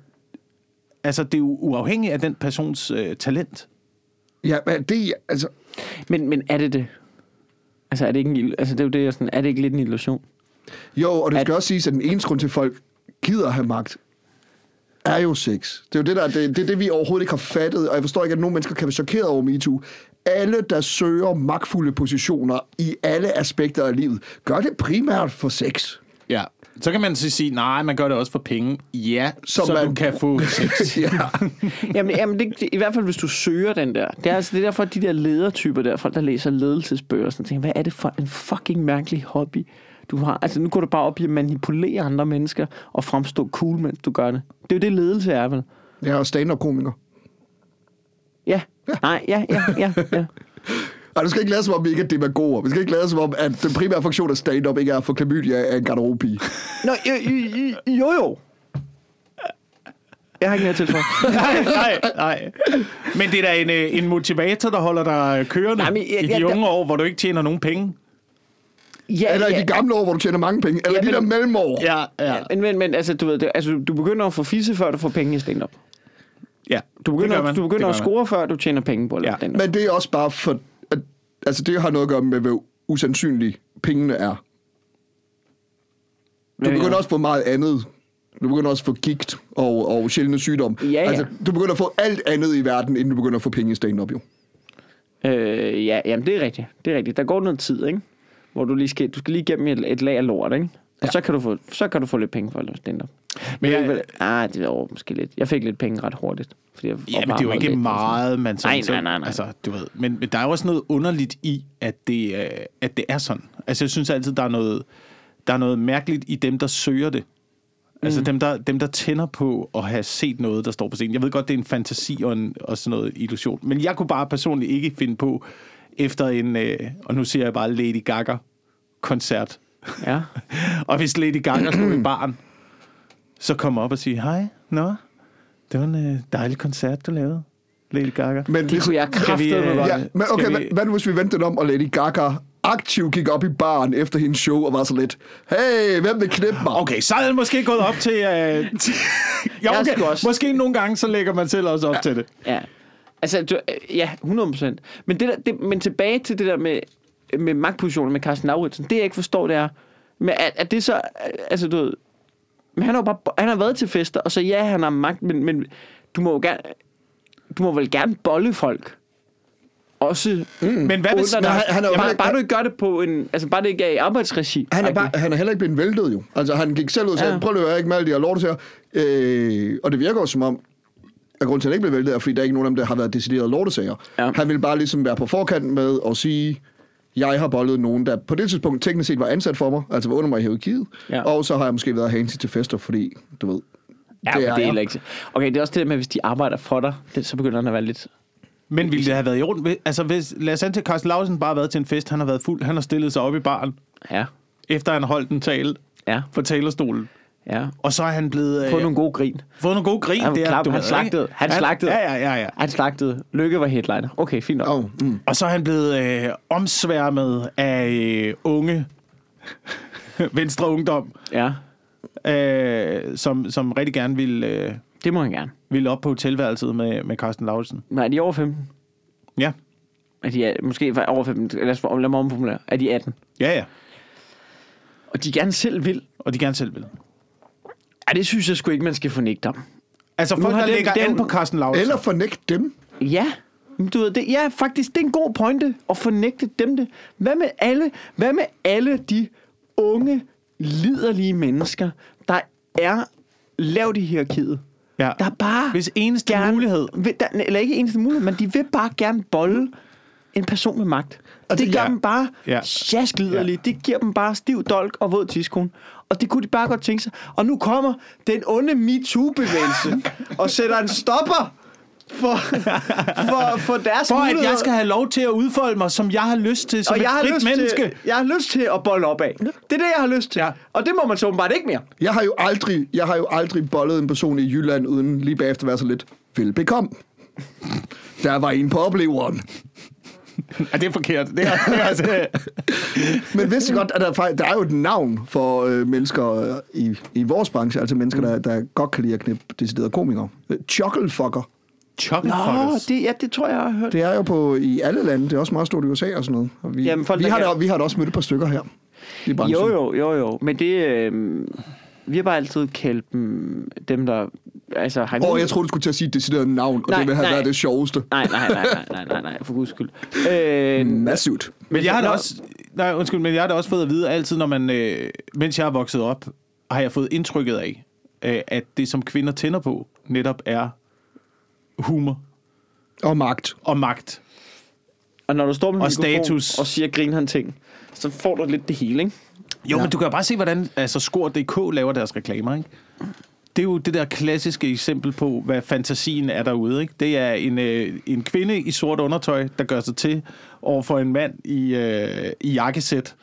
altså, det er jo uafhængigt af den persons øh, talent. Ja, men det, altså, Men, men er det det? Altså, er det ikke en, ill- altså, det er jo det, jeg sådan, er det ikke lidt en illusion? Jo, og det At- skal også siges, at den eneste grund til, at folk gider at have magt, er jo sex. Det er jo det, der, det, det, er det vi overhovedet ikke har fattet, og jeg forstår ikke, at nogle mennesker kan være chokeret over MeToo. Alle, der søger magtfulde positioner i alle aspekter af livet, gør det primært for sex. Ja. Så kan man så sige, nej, man gør det også for penge. Ja, Så så, så man... du man- kan få sex. (laughs) ja. Jamen, jamen det, det, i hvert fald, hvis du søger den der. Det er, altså, det er derfor, at de der ledertyper der, folk der læser ledelsesbøger, og sådan tænker, hvad er det for en fucking mærkelig hobby, du har? Altså, nu går du bare op i at manipulere andre mennesker og fremstå cool, mens du gør det. Det er jo det, ledelse er, vel? Jeg er jo stand-up-komiker. Ja. Nej, ja, ja, ja, ja. Og du skal ikke lade som om, vi ikke er demagoger. Vi skal ikke lade som om, at den primære funktion af stand-up ikke er at få klamydia af en garderobepige. Nå, jo, jo, jo. Jeg har ikke mere til for. (laughs) (laughs) nej, nej, nej. Men det er da en, øh, en motivator, der holder dig kørende Nej, men Jamen, jeg- jeg, i de jeg- unge år, hvor du ikke tjener nogen penge. Ja, Eller i de gamle år, hvor du tjener mange penge. Eller Ja, ja, de men- der mellemår. Ja. øh, ja. Men, men, men altså, du ved, det, altså, du begynder at få fisse, før du får penge i stand-up. ja Du det gør begynder, man. du Det begynder gør at man. score, før du tjener penge på at lave Ja. stand-up. Men det er også bare for... At, altså, det har noget at gøre med, hvor usandsynlige pengene er. Du begynder også at få meget andet. Du begynder også at få gigt og, og sjældne sygdomme. Ja, ja. Altså, du begynder at få alt andet i verden, inden du begynder at få penge i stand-up, jo. Øh, ja, jamen det er rigtigt. Det er rigtigt. Der går noget tid, ikke? Hvor du lige skal, du skal lige igennem et, et lag af lort, ikke? Og ja. så, kan du få, så kan du få lidt penge for at lave stand-up. Men jeg- jeg, ah, det er over måske lidt. Jeg fik lidt penge ret hurtigt. Fordi jeg Ja, men det er jo opvarmede ikke lidt, meget, man sådan Nej, nej, nej, nej. Altså, du ved. Men, men der er jo også noget underligt i, at det, øh, at det er sådan. Altså, jeg synes altid, der er noget, der er noget mærkeligt i dem, der søger det. Altså dem der, dem, der tænder på at have set noget, der står på scenen. Jeg ved godt, det er en fantasi og, en, og sådan noget illusion. Men jeg kunne bare personligt ikke finde på, efter en, øh, og nu siger jeg bare Lady Gaga-koncert. sådan. Ja. (laughs) og hvis Lady Gaga stod i baren, så kom op og sige, hej, nå, det var en øh, dejlig koncert, du lavede, Lady Gaga. Men Det kunne jeg kraftedeme øh, godt. Ja, Skal men okay, vi- hvad, hvad nu, hvis vi vendte den om, og Lady Gaga aktivt gik op i baren efter hendes show og var så lidt, hey, hvem vil knippe mig? Okay, så er det måske gået op (laughs) til... Øh, til jo, Jeg okay. skulle også- Måske nogle gange, så lægger man selv også op ja. til det. Ja. Altså, du, øh, ja, 100 procent. Men, det der, det, men tilbage til det der med, med magtpositionen med Carsten Lauritsen, det jeg ikke forstår, det er, men at, at det så, øh, altså du ved, men han har, jo bare, han har været til fester, og så ja, han har magt, men, men du må jo gerne, du må vel gerne bolle folk. Også, mm. Men hvad hvis... Undrer men dig. han- han er jo bare, heller- bare du ikke gør det på en, altså bare det ikke er i arbejdsregi. Han er, bare, han er heller ikke blevet væltet, jo. Altså, han gik selv ud og sagde, Ja. ja. prøv at høre, jeg er ikke med alle de her lortes her. Øh, og det virker jo som om, at grunden til, at han ikke blev væltet, er, fordi der er ikke nogen af dem, der har været decideret lortesager. Ja. Ja. Han ville bare ligesom være på forkant med at sige, jeg har bollet nogen, der på det tidspunkt teknisk set var ansat for mig, altså var under mig i hierarkiet, Ja. ja. og så har jeg måske været handsy til fester, fordi, du ved, ja, det er, det er jeg. heller ikke. Okay, det er også det der med, hvis de arbejder for dig, det, så begynder han at være lidt... Men ville det have været i orden? Altså, hvis, lad os antage, at Carsten Lausen bare har været til en fest. Han har været fuld. Han har stillet sig op i baren, Ja, efter han holdt en tale ja, på talerstolen. ja. Og så er han blevet... Øh, Få nogle gode grin. fået nogle gode grin. Han, der, klap, du han ved, slagtede. ikke? Han slagtede. Ja, ja, ja, ja. Han slagtede. Lykke var headliner. Okay, fint nok. Oh, mm. Og så er han blevet øh, omsværmet af øh, unge, (laughs) venstre ungdom, Ja, øh, som, som rigtig gerne ville, øh, det må han gerne. ville op på hotelværelset med, med Carsten Lausen. Men er de over 15? Ja, Er de, er- måske er over 15. Lad, os, lad mig omformulere. Er de 18? ja, ja. Og de gerne selv vil. Og de gerne selv vil. Ja, det synes jeg sgu ikke, man skal fornægte dem. Altså folk, har der den- lægger den- an på Carsten Lausen. Eller fornægt dem. Ja, men du ved, det, ja, faktisk, det er en god pointe at fornægte dem det. Hvad med alle, hvad med alle de unge, liderlige mennesker, der er lavt i hierarkiet? Ja. Der bare Hvis eneste gerne, mulighed. Vil, der, eller ikke eneste mulighed, men de vil bare gerne bolde en person med magt. Og det gør ja. dem bare ja. Ja. sjaskliderlige. Ja. Det giver dem bare stiv dolk og våd tidskone. Og det kunne de bare godt (laughs) tænke sig. Og nu kommer den onde MeToo-bevægelse og sætter en stopper for, for, for deres For at muligheder. jeg skal have lov til at udfolde mig, som jeg har lyst til, som og et jeg har, frit lyst menneske. til, jeg har lyst til at bolle op af. Det er det, jeg har lyst til. Ja. Og det må man så åbenbart ikke mere. Jeg har jo aldrig, jeg har jo aldrig bollet en person i Jylland, uden lige bagefter at være så lidt velbekomme. Der var en på opleveren. Ja, det er forkert. Det er, det er, altså, Men vidste I godt, at der, fakt- der er jo et navn for øh, mennesker øh, i, i vores branche, altså mennesker, der, der godt kan lide at knippe deciderede komikere. Øh, Chucklefucker. (laughs) Chocolate Nå, fuckers. det, ja, det tror jeg, jeg har hørt. Det er jo på i alle lande. Det er også meget stort i USA og sådan noget. Og vi, Jamen, folk, vi, der har kan- da, vi har da også mødt et par stykker her i branchen. Jo, jo, jo, jo. Men det... Øh, vi har bare altid kaldt dem, dem der... Altså, har Og jeg troede, du skulle til at sige et decideret navn, og Nej, det ville have nej. været det sjoveste. Nej, nej, nej, nej, nej, nej, nej, for guds skyld. Øh, Massivt. Men jeg har da Nå. også, nej, undskyld, men jeg har da også fået at vide altid, når man, øh, mens jeg er vokset op, har jeg fået indtrykket af, øh, at det, som kvinder tænder på, netop er humor Og magt. og magt. og når du står med Og mikrofon status. og siger grineren ting, så får du lidt det hele, ikke? Jo, ja. men du kan jo bare se, hvordan altså, Skor.dk laver deres reklamer, ikke? Det er jo det der klassiske eksempel på, hvad fantasien er derude. Ikke? Det er en, øh, en kvinde i sort undertøj, der gør sig til over for en mand i, øh, i jakkesæt,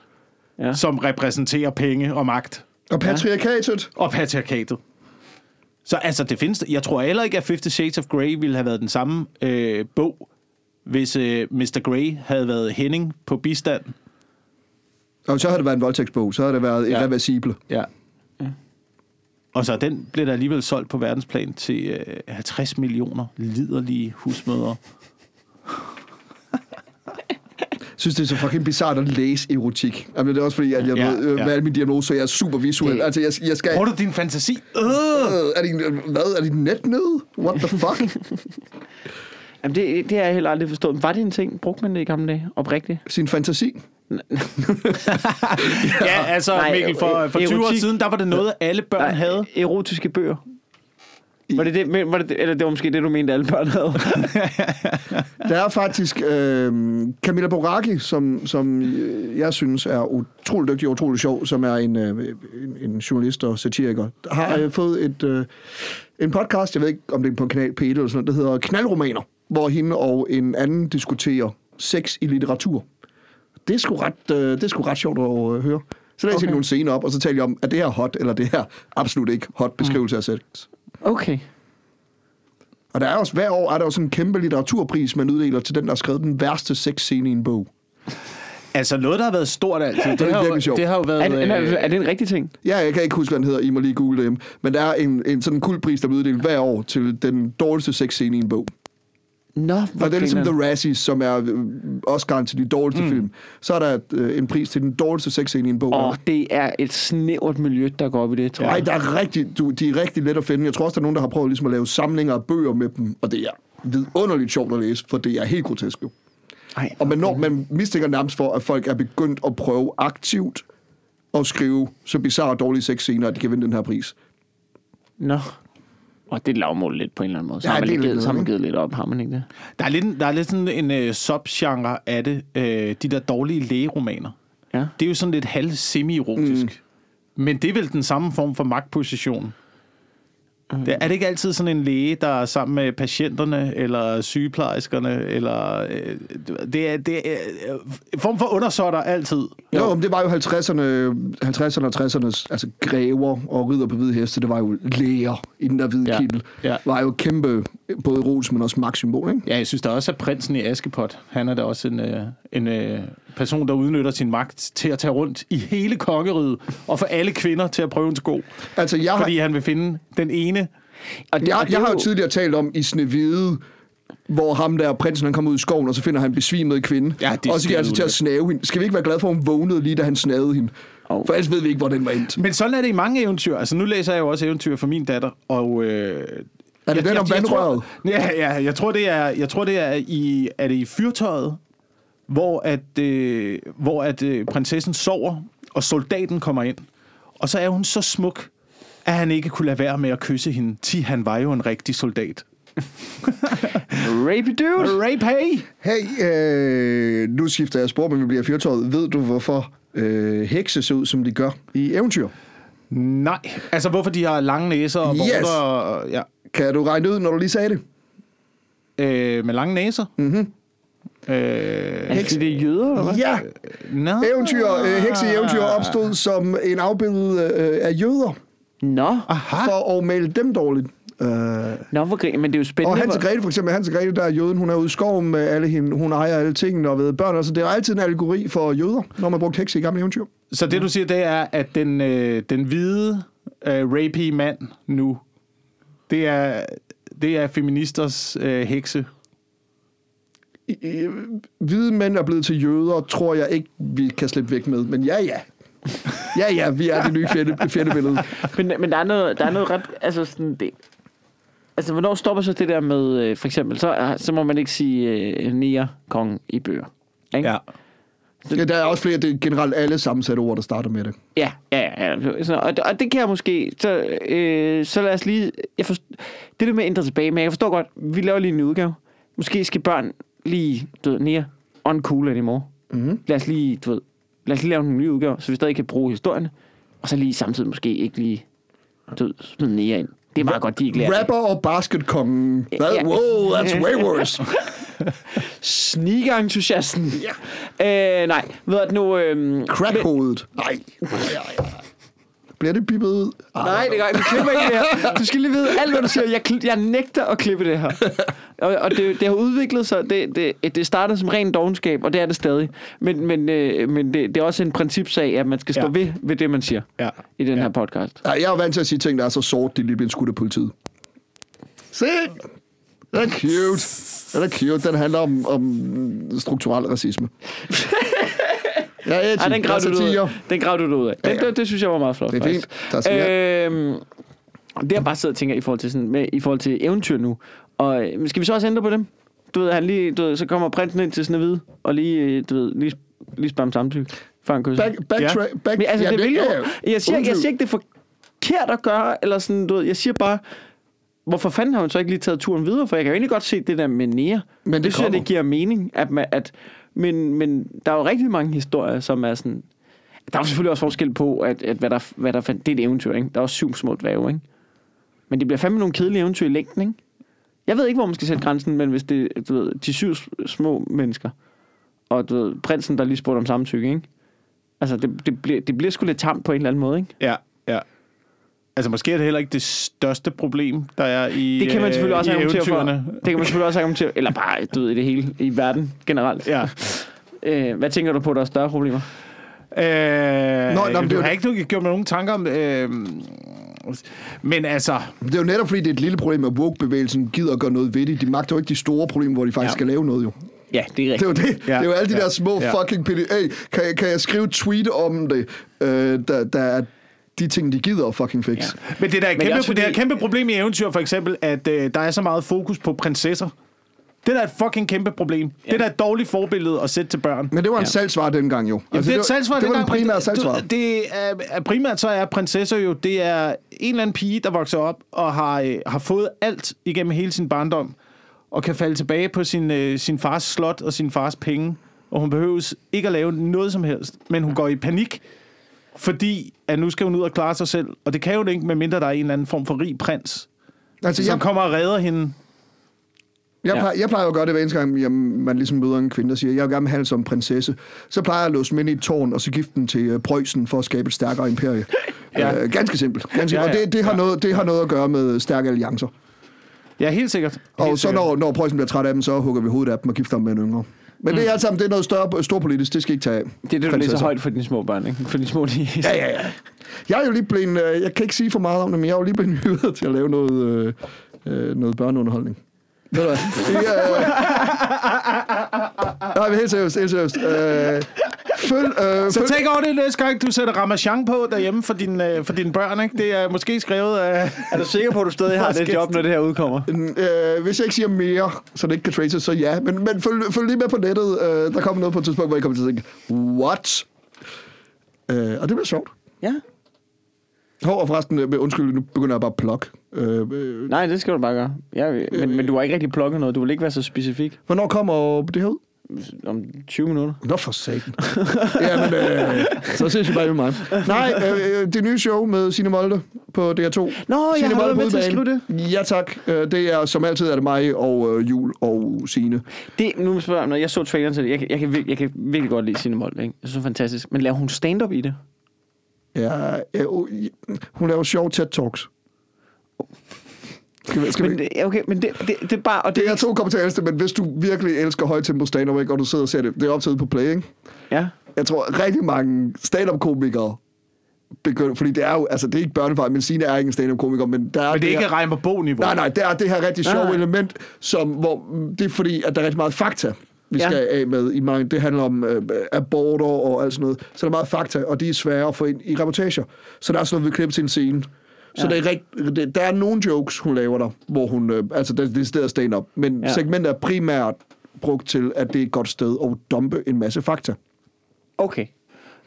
Ja. ja. som repræsenterer penge og magt. Og patriarkatet. og patriarkatet. Så altså, det findes... Jeg tror heller ikke, at 50 Shades of Grey ville have været den samme øh, bog, hvis øh, Mr. Grey havde været Henning på bistand. Og så har det været en voldtægtsbog. Så har det været Ja. irreversible. Ja. Og så den blev der alligevel solgt på verdensplan til øh, 50 millioner liderlige husmødre. Jeg synes, det er så fucking bizart at læse erotik. Jamen, det er også fordi, at jeg Ja, ja, ved, øh, ja. ja. med alle mine diagnoser, jeg er super visuel. Det- Det... Altså, jeg, jeg skal... Bruger du din fantasi? Øh! (laughs) Øh, er din, øh, hvad? Er din net nede? What the (laughs) fuck? Jamen, det, det har jeg heller aldrig forstået. Var det en ting? Brugte man det i gamle dage? Oprigtigt? Sin fantasi? Ja, altså Nej, Nej, Mikkel, for, for 20 år erotik. siden, der var det noget, alle børn Nej. havde. Erotiske bøger. Var det det, men var det, det- eller det var måske det, du mente, alle børn (laughs) havde? Der er faktisk øh, Camilla Boraki, som, som øh, jeg synes er utrolig dygtig og utrolig sjov, som er en, øh, en, en journalist og satiriker, har øh, fået et, øh, en podcast, jeg ved ikke, om det er på en kanal P1 eller sådan noget, der hedder Knaldromaner, hvor hende og en anden diskuterer sex i litteratur. Det er sgu ret, øh, det er sgu ret sjovt at øh, høre. Så læser okay. Okay. jeg nogle scener op, og så taler jeg om, er det her hot, eller det her absolut ikke hot beskrivelse af sex. Okay. Og der er også, hver år er der også en kæmpe litteraturpris, man uddeler til den, der har skrevet den værste sexscene i en bog. Altså noget, der har været stort altid. Det, er har, virkelig jo, sjovt. det har jo været... Er det, øh, er, er det en rigtig ting? Ja, jeg kan ikke huske, hvad den hedder. I må lige google det. Men der er en, en sådan guldpris, der bliver uddelt hver år til den dårligste sexscene i en bog. Nå, Og det er ligesom grineren. The Razzies, som er øh, Oscar'en til de dårligste mm. film. Så er der øh, en pris til den dårligste sexscene i en bog. Åh, det er et snævert miljø, der går op i det, tror Nej, jeg. der er rigtig, du, de er rigtig let at finde. Jeg tror også, der er nogen, der har prøvet ligesom at lave samlinger af bøger med dem. Og det er vidunderligt sjovt at læse, for det er helt grotesk jo. Ej, Og man, når, man mistænker nærmest for, at folk er begyndt at prøve aktivt at skrive så bizarre og dårlige sexscener, at de kan vinde den her pris. Nå. Og det er lavmål lidt på en eller anden måde. Så Ja, ja, har man, det er lidt, givet, lidt så har man noget, givet lidt op, har man ikke det? Der er lidt, en- der er lidt sådan en øh, subgenre af det. Øh, de der dårlige lægeromaner. Ja. Det er jo sådan lidt halv semi-erotisk. Mm. Men det er vel den samme form for magtposition. Mm. Er det ikke altid sådan en læge, der er sammen med patienterne, eller sygeplejerskerne, eller... Øh, det er, det er øh, form for undersåtter altid. Jo, jo men det var jo 50'erne 50'erne og 60'ernes, altså græver og ridder på hvide heste, det var jo læger i den der hvide Ja, ja. kittel. ja. var jo kæmpe, både ros, men også magtsymbol, ikke? Ja, jeg synes da også, at prinsen i Askepot, han er da også en, øh, en øh, person, der udnytter sin magt til at tage rundt i hele kongeriget, og få alle kvinder til at prøve en sko. Altså, jeg, har, Fordi han vil finde den ene. Og det, og jeg, det er jeg har jo tidligere talt om i Snevide, hvor ham der, prinsen, han kommer ud i skoven, og så finder han en besvimet kvinde. Ja, det er og så giver han sig til at snave hende. Skal vi ikke være glade for, at hun vågnede lige, da han snavede hende? Åh. Oh. For ellers ved vi ikke, hvor den var endt. Men sådan er det i mange eventyr. Altså, nu læser jeg jo også eventyr for min datter, og... Øh, er det den om vandrøret? Ja, ja, jeg tror, det er, jeg tror, det er i, er det i fyrtøjet, hvor at, øh, hvor at øh, prinsessen sover, og soldaten kommer ind. Og så er hun så smuk, at han ikke kunne lade være med at kysse hende, til han var jo en rigtig soldat. rapey dude. Rape, hey! Hey, øh, nu skifter jeg spor, men vi bliver fyrtøjet. Ved du, hvorfor øh, hekse ser ud, som de gør i eventyr? Nej, altså hvorfor de har lange næser og Yes. borter og... Ja. Kan du regne ud, når du lige sagde det? øh, med lange næser. Mm-hmm. Øh, Er det, det er jøder, eller hvad? Ja, Nå. eventyr, øh, hekseeventyr Ah. opstod som en afbillede øh, af jøder, Nå, Ah. Aha. for at male dem dårligt. Øh, Nå hvor grin, men det er jo spændende. Og Hans og hvor- Grete, for eksempel, Hans og Grete, der er jøden, hun er ude i skoven med alle hende, hun ejer alle tingene og ved børn, altså det er altid en allegori for jøder, når man brugte hekse i gamle eventyr. Så det, du siger, det er, at den, øh, den hvide øh, rapey mand nu, det er, det er feministers øh, hekse. I- i- Hvide mænd er blevet til jøder, tror jeg ikke, vi kan slippe væk med, men ja, ja. Ja, ja, vi er det nye fjende, fjendebillede. Men, men der, er noget, der er noget ret... Altså, sådan, det, altså, hvornår stopper så det der med... øh, For eksempel, så, er- så må man ikke sige øh, nier kong i bøger. Ikke? Ja, der er også flere, det er generelt alle sammensatte ord, der starter med det. Ja, ja, ja. ja. Sådan, og, og det kan jeg måske... Så, øh, så lad os lige... Jeg forst, det der med at ændre tilbage, men jeg forstår godt, vi laver lige en ny udgave. Måske skal børn lige, du ved, nære on cool anymore. Mm-hmm. Lad os lige, du ved, lad os lige lave en ny udgave, så vi stadig kan bruge historien. Og så lige samtidig måske ikke lige, du ved, smide nære ind. Det er meget godt, de ikke lærer det. Rapper og basketkongen. That, Ja. whoa, that's way worse. Sneaker-entusiasten. Ja. Øh, nej, ved at nu... Øhm, Crackhovedet. Nej. Bliver det bippet? ud? Ah, Nej, det gør ikke. Vi klipper ikke det her. Du skal lige vide alt, hvad du siger. Jeg, kl- jeg nægter at klippe det her. Og, og det, det har udviklet sig. Det, det, det startede som ren dogenskab, og det er det stadig. Men, men, øh, men det, det er også en principsag, at man skal stå ja. Ja. ved, ved det, man siger Ja. i den Ja. ja. her podcast. Nej, jeg er vant til at sige ting, der er så sort, de lige bliver skudt af politiet. Se! Den er cute. Den er cute. Den handler om, om strukturel (laughs) racisme. Ja, er Ej, den grav du, dig er ud satire. af. Den grav du dig ud af. Den, Ja, ja. det, det synes jeg var meget flot, Det er faktisk. fint. Der er sikkert- øhm, det jeg bare sidder og tænker i forhold til, sådan, med, i forhold til eventyr nu. Og øh, skal vi så også ændre på dem? Du ved, han lige, du ved, så kommer prinsen ind til Snevide, og lige, øh, du ved, lige, lige spørger om samtykke, før han kysser. Back, backtrack, back, Men altså, ja, det, vil jo... Jeg siger, ikke- jeg Undskyld. siger ikke, det er forkert at gøre, eller sådan, du ved, jeg siger bare, hvorfor fanden har man så ikke lige taget turen videre? For jeg kan jo egentlig godt se det der med nære. Men det det synes jeg, kommer. det giver mening. At man, at, men, men der er jo rigtig mange historier, som er sådan... Der er jo selvfølgelig også forskel på, at, at hvad der, hvad der fandt... Det er et eventyr, ikke? Der er også syv små dværge, ikke? Men det bliver fandme nogle kedelige eventyr i længden, ikke? Jeg ved ikke, hvor man skal sætte grænsen, men hvis det du ved, de syv s- små mennesker, og du ved, prinsen, der lige spurgte om samtykke, ikke? Altså, det, det, bliver, det bliver sgu lidt tamt på en eller anden måde, ikke? Ja, ja. Altså, måske er det heller ikke det største problem, der er i Det kan man selvfølgelig øh, også i argumentere for. eventyrene. Det kan man selvfølgelig også argumentere Eller bare, du ved, i det hele i verden generelt. Ja. Øh, hvad tænker du på, der er større problemer? Øh, Nå, Nå, nå, jamen, men det er du jo- har ikke nogen- gjort mig nogen tanker om... Øh, men altså, Det er jo netop, fordi det er et lille problem, at woke-bevægelsen gider at gøre noget ved det. De magter jo ikke de store problemer, hvor de faktisk ja. Ja. skal lave noget, jo. Ja, det er Det er rigtigt. jo det. Ja, Ja, det er jo alle de ja, ja, der små ja. ja. fucking pille. Hey, kan, jeg- kan jeg skrive et tweet om det, øh, der, der er de ting, de gider at fucking fix. Ja. Men det der er et Men det er kæmpe, også det er et fordi- kæmpe problem i eventyr, for eksempel, at øh, der er så meget fokus på prinsesser. Det der er et fucking kæmpe problem. Ja. Det der er et dårligt forbillede at sætte til børn. Men det var en Ja. ja. salgsvare dengang, jo. Altså, Jamen, det, er et var- salgsvar, det var den dengang, primære men det- salgsvare. du- Det er, er, primært så er prinsesser jo, det er en eller anden pige, der vokser op og har, øh, har fået alt igennem hele sin barndom, og kan falde tilbage på sin, øh, sin fars slot og sin fars penge, og hun behøves ikke at lave noget som helst, men hun går i panik, fordi at nu skal hun ud og klare sig selv, og det kan hun ikke, medmindre der er en eller anden form for rig prins, Altså, som jeg, kommer og redder hende. jeg, Ja. plejer, jeg plejer jo at gøre det hver eneste gang, jeg, man ligesom møder en kvinde, der siger, jeg vil gerne have hende som prinsesse. Så plejer jeg at låse dem ind i et tårn, og så gifte dem til øh, Preussen for at skabe et stærkere imperie. ja. (laughs) Ja. øh, ganske simpelt. Ganske, Ja, ja, ja. ja. Og det, det, har Ja. noget, det har noget at gøre med stærke alliancer. Ja, helt sikkert. Helt Og så sikkert. når, når Preussen bliver træt af dem, så hugger vi hovedet af dem og gifter dem med en yngre. Men mm. det er alt sammen, det er noget større, storpolitisk, det skal I ikke tage af. Det er det, du læser Prinsesser. højt for dine små børn, ikke? For dine små de... Ja, ja, ja. Jeg er jo lige blevet, øh, jeg kan ikke sige for meget om det, men jeg er jo lige blevet (laughs) hyret til at lave noget, øh, øh, noget børneunderholdning. Ved du hvad? Det er, øh... Nej, men helt seriøst, helt seriøst. Øh, følg, øh, Så følg... tænk over det næste gang, du sætter Ramachan på derhjemme for, din, øh, for dine børn. Ikke? Det er måske skrevet af... Er du sikker på, at du (laughs) stadig har det job, når det her udkommer? Øh, hvis jeg ikke siger mere, så det ikke kan traces, så ja. Men, men følg, følg lige med på nettet. Øh, der kommer noget på et tidspunkt, hvor jeg kommer til at tænke, what? Øh, og det bliver sjovt. Ja. Hov, og forresten, øh, undskyld, nu begynder jeg bare at plukke. Øh, øh, Øh. Nej, det skal du bare gøre. Ja, men, men du har ikke rigtig plukket noget. Du vil ikke være så specifik. hvornår kommer det her ud? om 20 minutter. Nå for satan. Jamen, øh, så ses vi bare med mig. Nej, øh, øh, det nye show med Signe Molde på DR2. Nå, Nå, jeg har været med til at skrive det. Ja tak. Øh, Det er som altid er det mig og øh, Jul og Signe. (laughs) det nu spørger jeg, når jeg så traileren til det, jeg, kan- jeg, kan, vir- jeg kan virkelig godt lide Signe Molde, ikke? Jeg synes, hun er fantastisk. Men laver hun stand-up i det? Ja, øh, hun laver sjov TED Talks. Skal vi, skal Men, vi? det- ja, okay, men det, det, det er bare... Og det, Det er to kommer til ældste, men hvis du virkelig elsker højtempo stand-up, ikke, og du sidder og ser det, det er optaget på play, ikke? Ja. jeg tror, at rigtig mange stand-up-komikere begynder, fordi det er jo, altså det er ikke børnefar, men Signe er ikke en stand-up-komiker, men der er Men det er ikke her, Reimer Bo-niveau. Nej, nej, der er det her rigtig Nej, sjove nej. element, som, hvor mm, det er fordi, at der er rigtig meget fakta, vi Ja. ja. skal af med i mange. Det handler om øh, aborter og alt sådan noget. Så der er meget fakta, og de er svære at få ind i reportager. Så der er sådan noget, vi klipper til en scene. Så Ja. ja. det er rigt, det, der er nogle jokes, hun laver der, hvor hun, øh, altså det, det er stedet stand-up, men Ja. ja. segmentet er primært brugt til, at det er et godt sted at dumpe en masse fakta. Okay.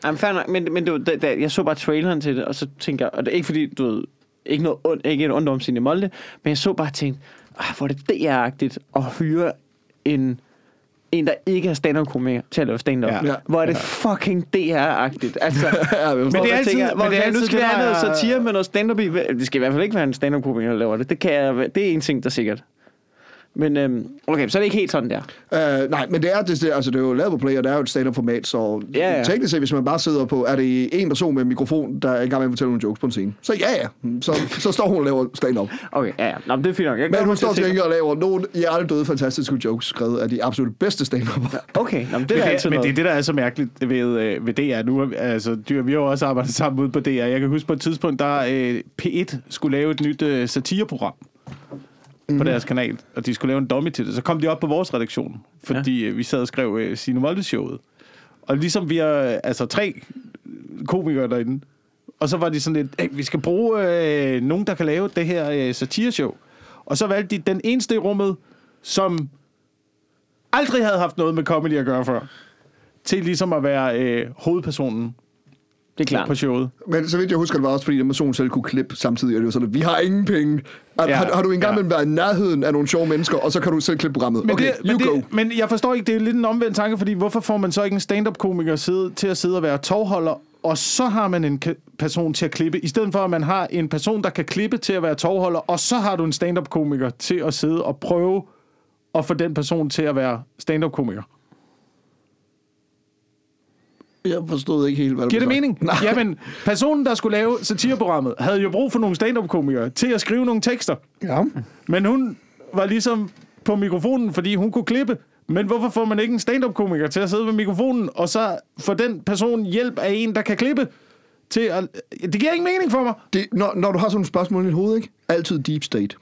Jamen, fair nok, men, men det var, da, da, jeg så bare traileren til det, og så tænker jeg, og det er ikke fordi, du ved, ikke, noget ond, ikke en ond om sine molde, men jeg så bare og tænkte, ah, hvor er det DR-agtigt at hyre en, en, der ikke er stand-up-komiker til at lave stand-up. Ja. Ja. Ja. Hvor er det fucking DR-agtigt. (laughs) Altså, Ja, men men det det er er altid- tænker, men hvor det er det er nu altid skal det, vi have noget der- satire med noget stand-up i. Det skal i hvert fald ikke være en stand-up-komiker, der laver det. Det, kan jeg, det er en ting, der er sikkert. Men øhm, okay, så er det ikke helt sådan der. Uh, nej, men det er, det, det, altså, det er jo lavet på play, og det er jo et stand-up-format, så Ja, ja. teknisk set, hvis man bare sidder på, er det en person med en mikrofon, der er i gang med at fortælle nogle jokes på en scene. Så ja, ja, så, så står hun og laver stand-up. Okay, ja, ja. Nå, men det er fint nok. Jeg Men glæder hun mig til står at se til det. gengæld og laver nogle i alle døde fantastiske jokes, skrevet af de absolut bedste stand Okay, nå, men det er Men, da det, altid men noget. det er det, der er så mærkeligt ved, øh, ved DR nu. Altså, dyr, vi har jo også arbejdet sammen ude på DR. Jeg kan huske på et tidspunkt, der øh, P1 skulle lave et nyt øh, satireprogram mm-hmm. Mhm. på deres kanal, og de skulle lave en dummy til det. Så kom de op på vores redaktion, fordi ja. vi sad og skrev øh, Signe Molde-showet. Og ligesom vi er øh, altså, tre komikere derinde, og så var de sådan lidt, hey, vi skal bruge øh, nogen, der kan lave det her øh, satireshow. Og så valgte de den eneste i rummet, som aldrig havde haft noget med comedy at gøre før, til ligesom at være øh, hovedpersonen det er klart. på showet. Men så vidt jeg husker, det var også fordi, den person selv kunne klippe samtidig, og det var sådan, at vi har ingen penge. Har, Ja, ja, har, har du engang ja. ja. været i nærheden af nogle sjove mennesker, og så kan du selv klippe programmet. Men, okay, det, men, you go. det, men jeg forstår ikke, det er lidt en omvendt tanke, fordi hvorfor får man så ikke en stand-up-komiker side, til at sidde og være tovholder, og så har man en ka- person til at klippe, i stedet for at man har en person, der kan klippe til at være tovholder, og så har du en stand-up-komiker til at sidde og prøve at få den person til at være stand-up-komiker. Jeg forstod ikke helt, hvad du Giver det sagde. mening? Nej. Jamen, personen, der skulle lave satireprogrammet, havde jo brug for nogle stand-up-komikere til at skrive nogle tekster. Ja. Men hun var ligesom på mikrofonen, fordi hun kunne klippe. Men hvorfor får man ikke en stand-up-komiker til at sidde ved mikrofonen, og så får den person hjælp af en, der kan klippe? Til at... Det giver ingen mening for mig. det, når, når du har sådan nogle spørgsmål i dit hoved, ikke? Altid deep state.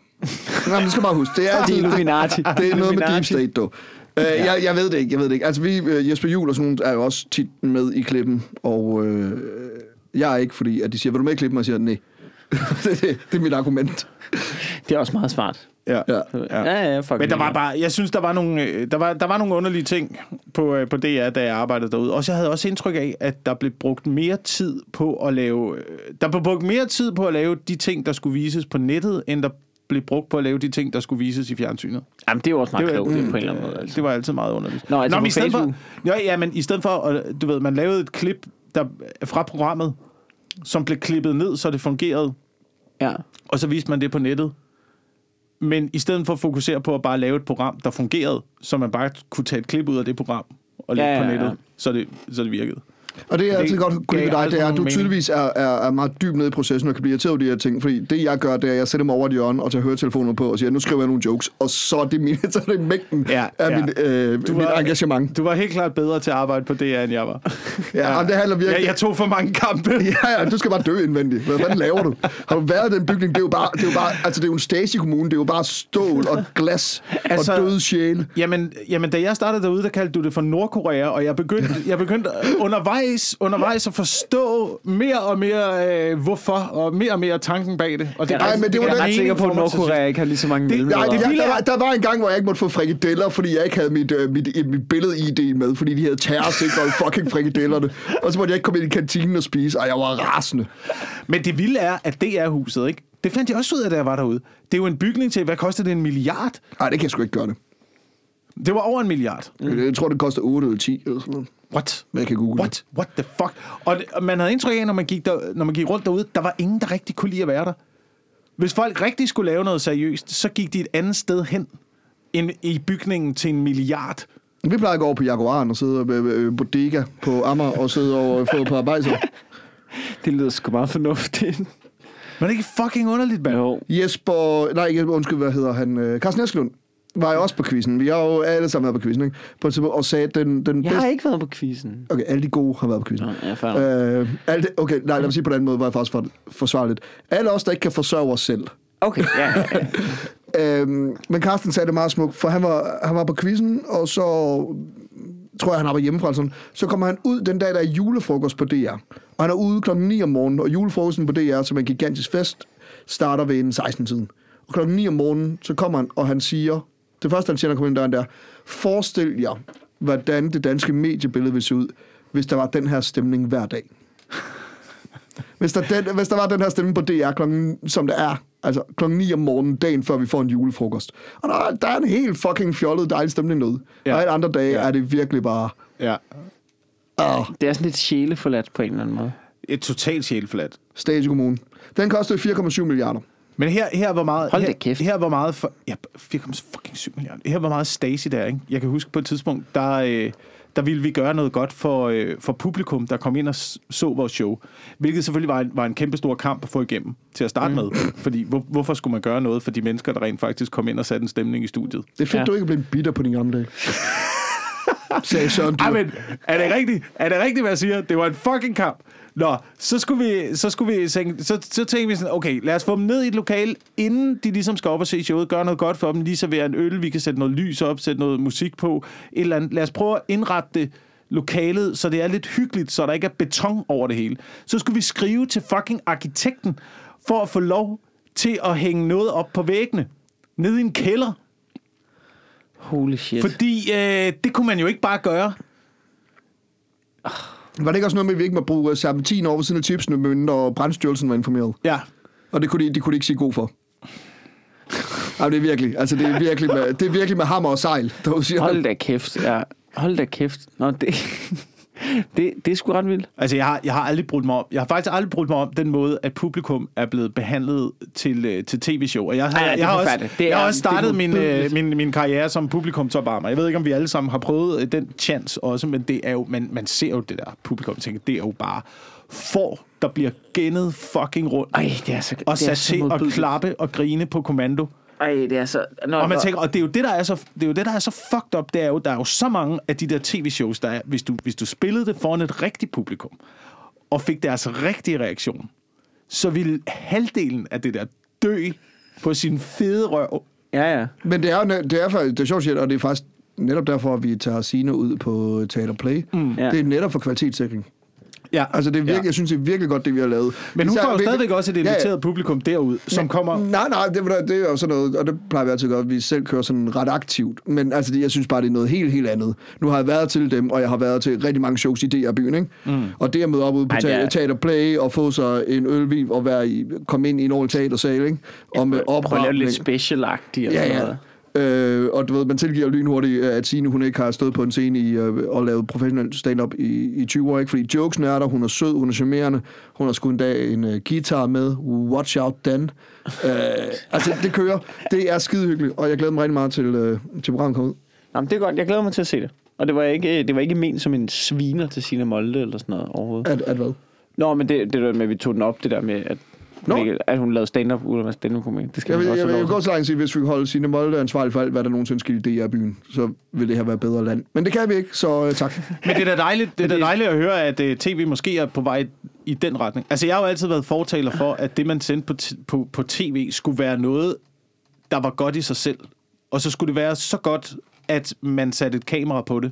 Nej, men du skal bare huske, det er altid... Det er Illuminati. (laughs) Det, det er noget med Illuminati. deep state, dog. Uh, jeg, jeg ved det ikke, jeg ved det ikke. Altså, vi, uh, Jesper Juhl og sådan nogle er jo også tit med i klippen, og uh, jeg er ikke, fordi at de siger, vil du med i klippen? Og jeg siger, nej. (laughs) det, det, det er mit argument. Det er også meget smart. Ja. Ja, ja, ja fuck Men der det. var bare, jeg synes, der var nogle, øh, der var, der var nogle underlige ting på, øh, på DR, da jeg arbejdede derude. Også jeg havde også indtryk af, at der blev brugt mere tid på at lave, øh, der blev brugt mere tid på at lave de ting, der skulle vises på nettet, end der blev brugt på at lave de ting, der skulle vises i fjernsynet. Jamen, det er jo også meget Det var- klogt det, på en eller anden måde. Altså. Det var altid meget underligt. Nå, altså på men i stedet for, Facebook. jo, ja, men i stedet for, at, du ved, man lavede et klip der, fra programmet, som blev klippet ned, så det fungerede, Ja. og så viste man det på nettet. Men i stedet for at fokusere på at bare lave et program, der fungerede, så man bare kunne tage et klip ud af det program og lægge Ja, ja, ja, ja, ja. på nettet, så det, så det virkede. Og det, jeg Det altid godt kunne lide gav ved aldrig dig, det er, at nogen du mening. tydeligvis er, er, er meget dybt nede i processen og kan blive irriteret over de her ting. Fordi det, jeg gør, det er, at jeg sætter mig over et hjørne og tager høretelefoner på og siger, nu skriver jeg nogle jokes, og så er det, min, (laughs) så er det mængden Ja, ja, af ja. ja. Mit, øh, Du mit var- engagement. Du var helt klart bedre til at arbejde på DR, end jeg var. Ja, ja. det handler virkelig... Jeg, jeg tog for mange kampe. (laughs) Ja. Ja, ja, du skal bare dø indvendigt. Hvad fanden laver du? Har du været i den bygning? Det er jo bare, det er jo bare altså det er jo en stasi-kommune. Det er jo bare stål og glas Altså- altså, og døde sjæle. Jamen, jamen, da jeg startede derude, der kaldte du det for Nordkorea, og jeg begyndte, jeg begyndte undervejs, undervejs at forstå mere og mere, øh, hvorfor, og mere og mere tanken bag det. Og det, Nej, men det var jeg er den ret ene sikker på, at form for Nordkorea ikke har lige så mange Det- mellemledere. Nej, det, jeg, vilde der, er- var, der var en gang, hvor jeg ikke måtte få frikadeller, fordi jeg ikke havde mit, øh, mit, øh, mit billede-ID med, fordi de havde terrorsikret fucking frikadellerne. Og så måtte jeg ikke komme ind i kantinen og spise, og jeg var rasende. Men det vilde er, at det er huset, ikke? Det fandt jeg også ud af, da jeg var derude. Det er jo en bygning til, hvad koster det, en milliard? Nej, det kan jeg sgu ikke gøre det. Det var over en milliard. Mm. Jeg tror, det koster 8 eller 10 eller sådan noget. What? Men jeg kan google det. What? What the fuck? Og, det, og man havde indtryk af, når man, gik der, når man gik rundt derude, der var ingen, der rigtig kunne lide at være der. Hvis folk rigtig skulle lave noget seriøst, så gik de et andet sted hen end i bygningen til en milliard. Vi plejer at gå over på Jaguaren og sidde ved, ved bodega på Amager og sidde over og få et par bajser. Det lyder sgu meget fornuftigt. Men det er ikke fucking underligt, mand. Jo. Jesper, nej ikke Jesper, undskyld, hvad hedder han? Øh, Carsten Eskelund var jo også på quizzen. Vi har jo alle sammen været på quizzen, ikke? På et tidspunkt, og sagde, at den, den Jeg bedste... har ikke været på quizzen. Okay, alle de gode har været på quizzen. Nå, ja, fair nok. Øh, alle de, okay, nej, lad mig sige på den anden måde, var jeg faktisk for, forsvarligt. Alle os, der ikke kan forsørge os selv. Okay, ja, ja, (laughs) ja. Øhm, men Carsten sagde det meget smukt, for han var, han var på quizzen, og så tror jeg, han arbejder hjemmefra. eller Sådan. Så kommer han ud den dag, der er julefrokost på DR. Og han er ude klokken 9 om morgenen, og julefrokosten på DR, som er en gigantisk fest, starter ved en 16-tiden. Og klokken 9 om morgenen, så kommer han, og han siger, det første, han siger, når han kommer ind ad døren, der, forestil jer, hvordan det danske mediebillede ville se ud, hvis der var den her stemning hver dag. Hvis der, den, hvis der var den her stemme på DR, klokken, som det er, altså klokken 9 om morgenen, dagen før vi får en julefrokost. Og der, der er en helt fucking fjollet dejlig stemning derude. Ja. Ja. Og alle andre dage Ja. ja. er det virkelig bare... Ja. Ah, Det er sådan lidt sjæleforladt på en eller anden måde. Et totalt sjælflat. Stage Kommune. Den kostede 4,7 milliarder. Men her, her var meget... Hold da her, kæft. Her var meget... For, ja, 4,7 milliarder. Her var meget Stacy der, ikke? Jeg kan huske på et tidspunkt, der, øh, der ville vi gøre noget godt for, øh, for publikum, der kom ind og s- så vores show. Hvilket selvfølgelig var en, var en kæmpe stor kamp at få igennem til at starte mm. med. Fordi hvor, hvorfor skulle man gøre noget for de mennesker, der rent faktisk kom ind og satte en stemning i studiet? Det er fedt, Ja. ja. du ikke blev bitter på din gamle dag. Sagde Søren Dyr. Ej, men er det rigtigt? Er det rigtigt, hvad jeg siger? Det var en fucking kamp. Nå, så skulle vi, så skulle vi tænke, så, så tænkte vi sådan, okay, lad os få dem ned i et lokal, inden de ligesom skal op og se showet, gøre noget godt for dem, lige servere en øl, vi kan sætte noget lys op, sætte noget musik på, et eller andet. Lad os prøve at indrette det lokalet, så det er lidt hyggeligt, så der ikke er beton over det hele. Så skulle vi skrive til fucking arkitekten, for at få lov til at hænge noget op på væggene, nede i en kælder, Holy shit. fordi øh, det kunne man jo ikke bare gøre. Var det ikke også noget med, at vi ikke måtte bruge øh, serpentin over ved siden af chipsene, når brandstyrelsen var informeret? Ja, Og det kunne de, det kunne de ikke sige god for. Ej, det er virkelig, altså det er virkelig med, det er virkelig med hammer og sejl, der siger. Hold da kæft, ja. Hold da kæft. Nå, det, (laughs) det, det er sgu ret vildt. Altså, jeg har, jeg har aldrig brudt mig om. Jeg har faktisk aldrig brudt mig om den måde, at publikum er blevet behandlet til, øh, til tv-show. Og jeg, har, Ej, nej, det jeg, er har også, forfærdeligt. Det jeg har er- også det er startet min, øh, modbydeligt. min, min karriere som publikumsopvarmer. Jeg ved ikke, om vi alle sammen har prøvet øh, den chance også, men det er jo, man, man ser jo det der publikum tænker, det er jo bare får, der bliver gennet fucking rundt Ej, det er så det er og sat så til at modbydeligt. klappe og grine på kommando. Ej, det er så... Nå, Og Altså- man nå. tænker, og det er jo det, der er så, det er jo det, der er så fucked up, det er jo, der er jo så mange af de der tv-shows, der er, hvis du, hvis du spillede det foran et rigtigt publikum, og fik deres rigtige reaktion, så ville halvdelen af det der dø på sin fede røv. Ja, ja. Men det er jo næ- det er, faktisk- det er sjovt shit, og det er faktisk netop derfor, at vi tager Sine ud på Teater Play. Mm. Ja. Det er netop for kvalitetssikring. Ja, Altså, det er virkelig, ja. Ja. jeg synes, det er virkelig godt, det vi har lavet. Men hun Især får jo virkelig- stadigvæk også et Ja, ja. inviteret publikum derud, som kommer... Nej, nej, det, var- det er jo sådan noget, og det plejer vi altid at gøre, at vi selv kører sådan ret aktivt. Men altså, det, jeg synes bare, det er noget helt, helt andet. Nu har jeg været til dem, og jeg har været til rigtig mange shows i DR-byen, ikke? Mm. Og det at møde op ude på Ej, det teater, er- teater Play og få sig en ølviv og være i, komme ind i en ordentlig teatersal, ikke? Og med Prøv at lave det opvarmning. lidt specialagtigt og sådan Ja, ja. noget. Øh, og du ved, man tilgiver jo lynhurtigt, øh, at Signe, hun ikke har stået på en scene i, øh, og lavet professionel stand-up i, i 20 år, ikke? Fordi jokesen er der, hun er sød, hun er charmerende, hun har sgu en dag en uh, guitar med, watch out Dan. øh, altså, det kører. Det er skide hyggeligt, og jeg glæder mig rigtig meget til, øh, til programmet kommer ud. Nå, men det er godt. Jeg glæder mig til at se det. Og det var ikke, det var ikke ment som en sviner til sine Molde eller sådan noget overhovedet. At, at hvad? Nå, men det, det der med, at vi tog den op, det der med, at, Nå. hun ikke, at hun lavede stand-up ud af stand up komik Det skal Jeg man vil, også jeg vil, have jeg vil lov gå til. så langt at sige, hvis vi kunne holde Signe Molde ansvarlig for alt, hvad der nogensinde sker i DR-byen, så vil det her være et bedre land. Men det kan vi ikke, så øh, tak. Men det er da dejligt, det er da dejligt at høre, at uh, tv måske er på vej i den retning. Altså, jeg har jo altid været fortaler for, at det, man sendte på, t- på, på tv, skulle være noget, der var godt i sig selv. Og så skulle det være så godt, at man satte et kamera på det.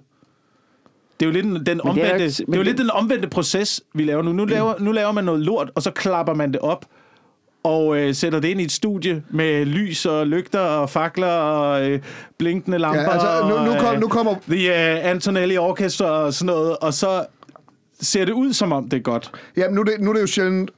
Det er jo lidt den, den, jo omvendte, det ikke- er, men jo det- lidt den omvendte proces, vi laver nu. Nu laver, nu laver man noget lort, og så klapper man det op og øh, sætter det ind i et studie med lys og lygter og fakler og øh, blinkende lamper. Ja, altså, nu- nu kom- og, øh, nu kommer- The uh, Antonelli Orchestra og sådan noget, og så ser det ud, som om det er godt. Ja, nu, er det, nu er det jo sjældent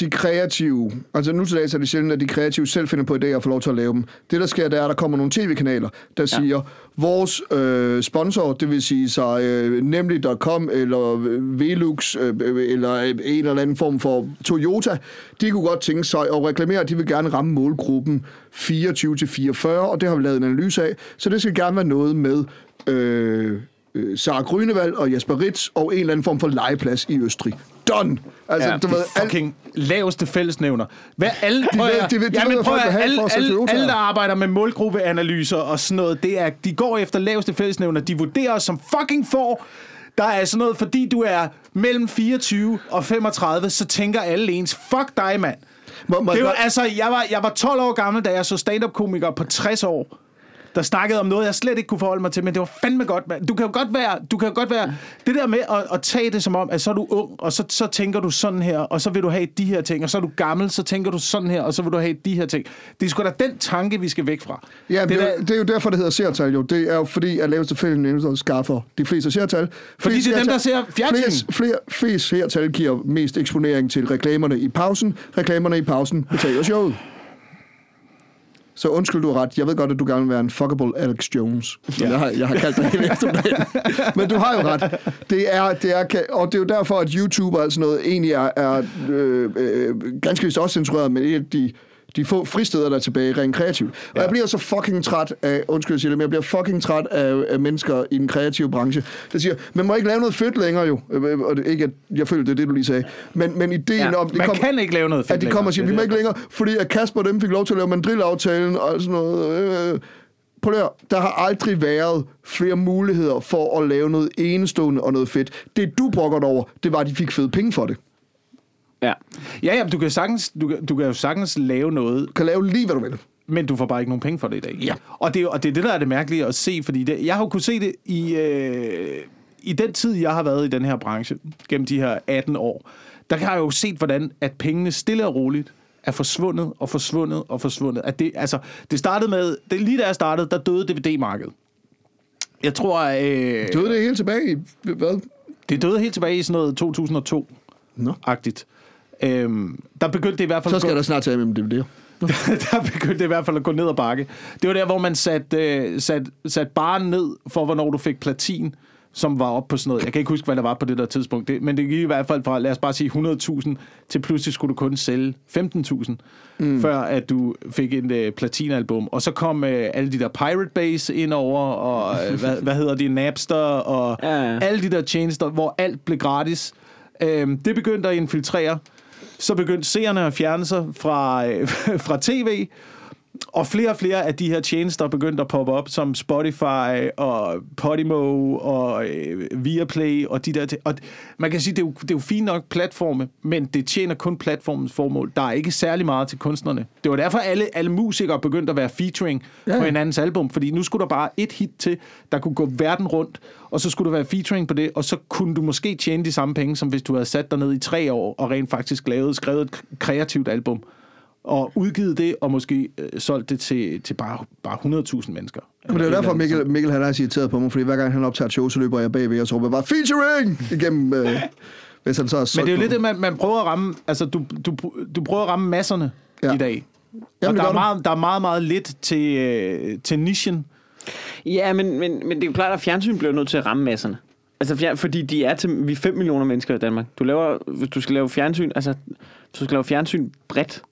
de kreative, altså nu til dags er det sjældent, at de kreative selv finder på idéer og får lov til at lave dem. Det, der sker, det er, at der kommer nogle tv-kanaler, der ja. siger, vores øh, sponsor, det vil sige sig øh, nemlig.com eller Velux øh, eller en eller anden form for Toyota, de kunne godt tænke sig at reklamere, at de vil gerne ramme målgruppen 24-44, og det har vi lavet en analyse af, så det skal gerne være noget med... Øh, øh, Sara Grønevald og Jesper Ritz og en eller anden form for legeplads i Østrig. Done! Altså, ja, du ved, de alt, fucking laveste fællesnævner. Hvad alle, prøv ved- at- de ved- de Jamen, ved, hvad prøv folk at- vil have alle, for at sætte alle, Toyotaer. alle, der arbejder med målgruppeanalyser og sådan noget, det er, de går efter laveste fællesnævner. De vurderer os som fucking får. Der er sådan noget, fordi du er mellem 24 og 35, så tænker alle ens, fuck dig, mand. Må- må- det var, må- altså, jeg var, jeg var 12 år gammel, da jeg så stand-up-komikere på 60 år der snakkede om noget, jeg slet ikke kunne forholde mig til, men det var fandme godt, mand. Du kan jo godt være, du kan jo godt være det der med at, at tage det som om, at så er du ung, og så, så tænker du sådan her, og så vil du have de her ting, og så er du gammel, så tænker du sådan her, og så vil du have de her ting. Det er sgu da den tanke, vi skal væk fra. Ja, det, det, det, der, er, jo- det er jo derfor, det hedder seertal jo. Det er jo fordi, at laveste fælden nævnelser skaffer de fleste seertal. Flest det er dem, der ser seertal- fjernsyn. Flest, flere, flest seertal giver mest eksponering til reklamerne i pausen. Reklamerne i pausen betaler showet. Så undskyld, du har ret. Jeg ved godt, at du gerne vil være en fuckable Alex Jones. Ja. Jeg, har, jeg har kaldt dig (laughs) hele eftermiddagen. Men du har jo ret. Det er, det er, ka- og det er jo derfor, at YouTube og alt sådan noget egentlig er, er øh, øh, ganske vist også censureret, men et af de, de få fristeder, der er tilbage rent kreativt. Og ja. jeg bliver så fucking træt af, undskyld, jeg siger det, men jeg bliver fucking træt af, af mennesker i den kreative branche, der siger, man må ikke lave noget fedt længere jo. Øh, øh, Og det, ikke, at jeg føler, det er det, du lige sagde. Men, men ideen ja, om... det man kom- kan ikke lave noget fedt at de kommer og siger, vi længere. må Det ikke er længere, fordi at Kasper og dem fik lov til at lave mandrilaftalen og sådan noget. Øh, prøv lige at høre, der har aldrig været flere muligheder for at lave noget enestående og noget fedt. Det du brokker dig over, det var, at de fik fede penge for det. Ja. det. Ja, ja, men du kan, sagtens, du, kan- du kan jo sagtens lave noget, Du kan lave lige, hvad du vil. men du får bare ikke nogen penge for det i dag. Ja. Og det, er jo- og det er det, der er det mærkelige at se, fordi det, jeg har jo kunnet se det i, øh, i den tid, jeg har været i den her branche, gennem de her 18 år, der har jeg jo set, hvordan at pengene stille og roligt er forsvundet og forsvundet og forsvundet. At det, altså, det startede med, det, lige da jeg startede, der døde DVD-markedet. Jeg tror, øh, Du ved det helt tilbage i, hvad? det døde helt tilbage i sådan noget 2002-agtigt. Øhm, der begyndte det i hvert fald Så at gå- skal der snart tage med dem det der. (laughs) der begyndte det i hvert fald at gå ned og bakke. Det var der, hvor man satte øh, sat, sat baren ned for, hvornår du fik platin, som var op på sådan noget. Jeg kan ikke huske, hvad der var på det der tidspunkt, det, men det gik i hvert fald fra, lad os bare sige 100.000, til pludselig skulle du kun sælge 15.000, mm. før at du fik en øh, platinalbum. Og så kom øh, alle de der Pirate Base ind over, og øh, hvad, hvad hedder de, Napster, og Ja, ja. alle de der tjenester, hvor alt blev gratis. Øhm, det begyndte at infiltrere. Så begyndte seerne at fjerne sig fra, øh, (laughs) fra tv, og flere og flere af de her tjenester begyndte at poppe op, som Spotify og Podimo og øh, Viaplay og de der. ting. Og man kan sige, det er, jo, det er jo fint nok platforme, men det tjener kun platformens formål. Der er ikke særlig meget til kunstnerne. Det var derfor, alle, alle musikere begyndte at være featuring ja. på hinandens album, fordi nu skulle der bare et hit til, der kunne gå verden rundt, og så skulle der være featuring på det, og så kunne du måske tjene de samme penge, som hvis du havde sat dig ned i tre år og rent faktisk lavet, skrevet et kreativt album og udgivet det, og måske øh, solgt det til, til bare, bare 100.000 mennesker. Men det Eller er jo et eller derfor, andet. Mikkel, Mikkel han er så irriteret på mig, fordi hver gang han optager et show, så løber jeg bagved, og så råber jeg bare, featuring! Igennem, (laughs) øh, hvis han så har Men det er jo solgt lidt det, man, man prøver at ramme, altså du, du, du prøver at ramme masserne Ja. ja. i dag. det Jamen, og der, gør er du. meget, der er meget, meget lidt til, øh, til nichen. Ja, men, men, men det er jo klart, at fjernsyn bliver nødt til at ramme masserne. Altså, fjer- fordi de er til, vi er 5 millioner mennesker i Danmark. Du laver, hvis du skal lave fjernsyn, altså, hvis du skal lave fjernsyn bredt.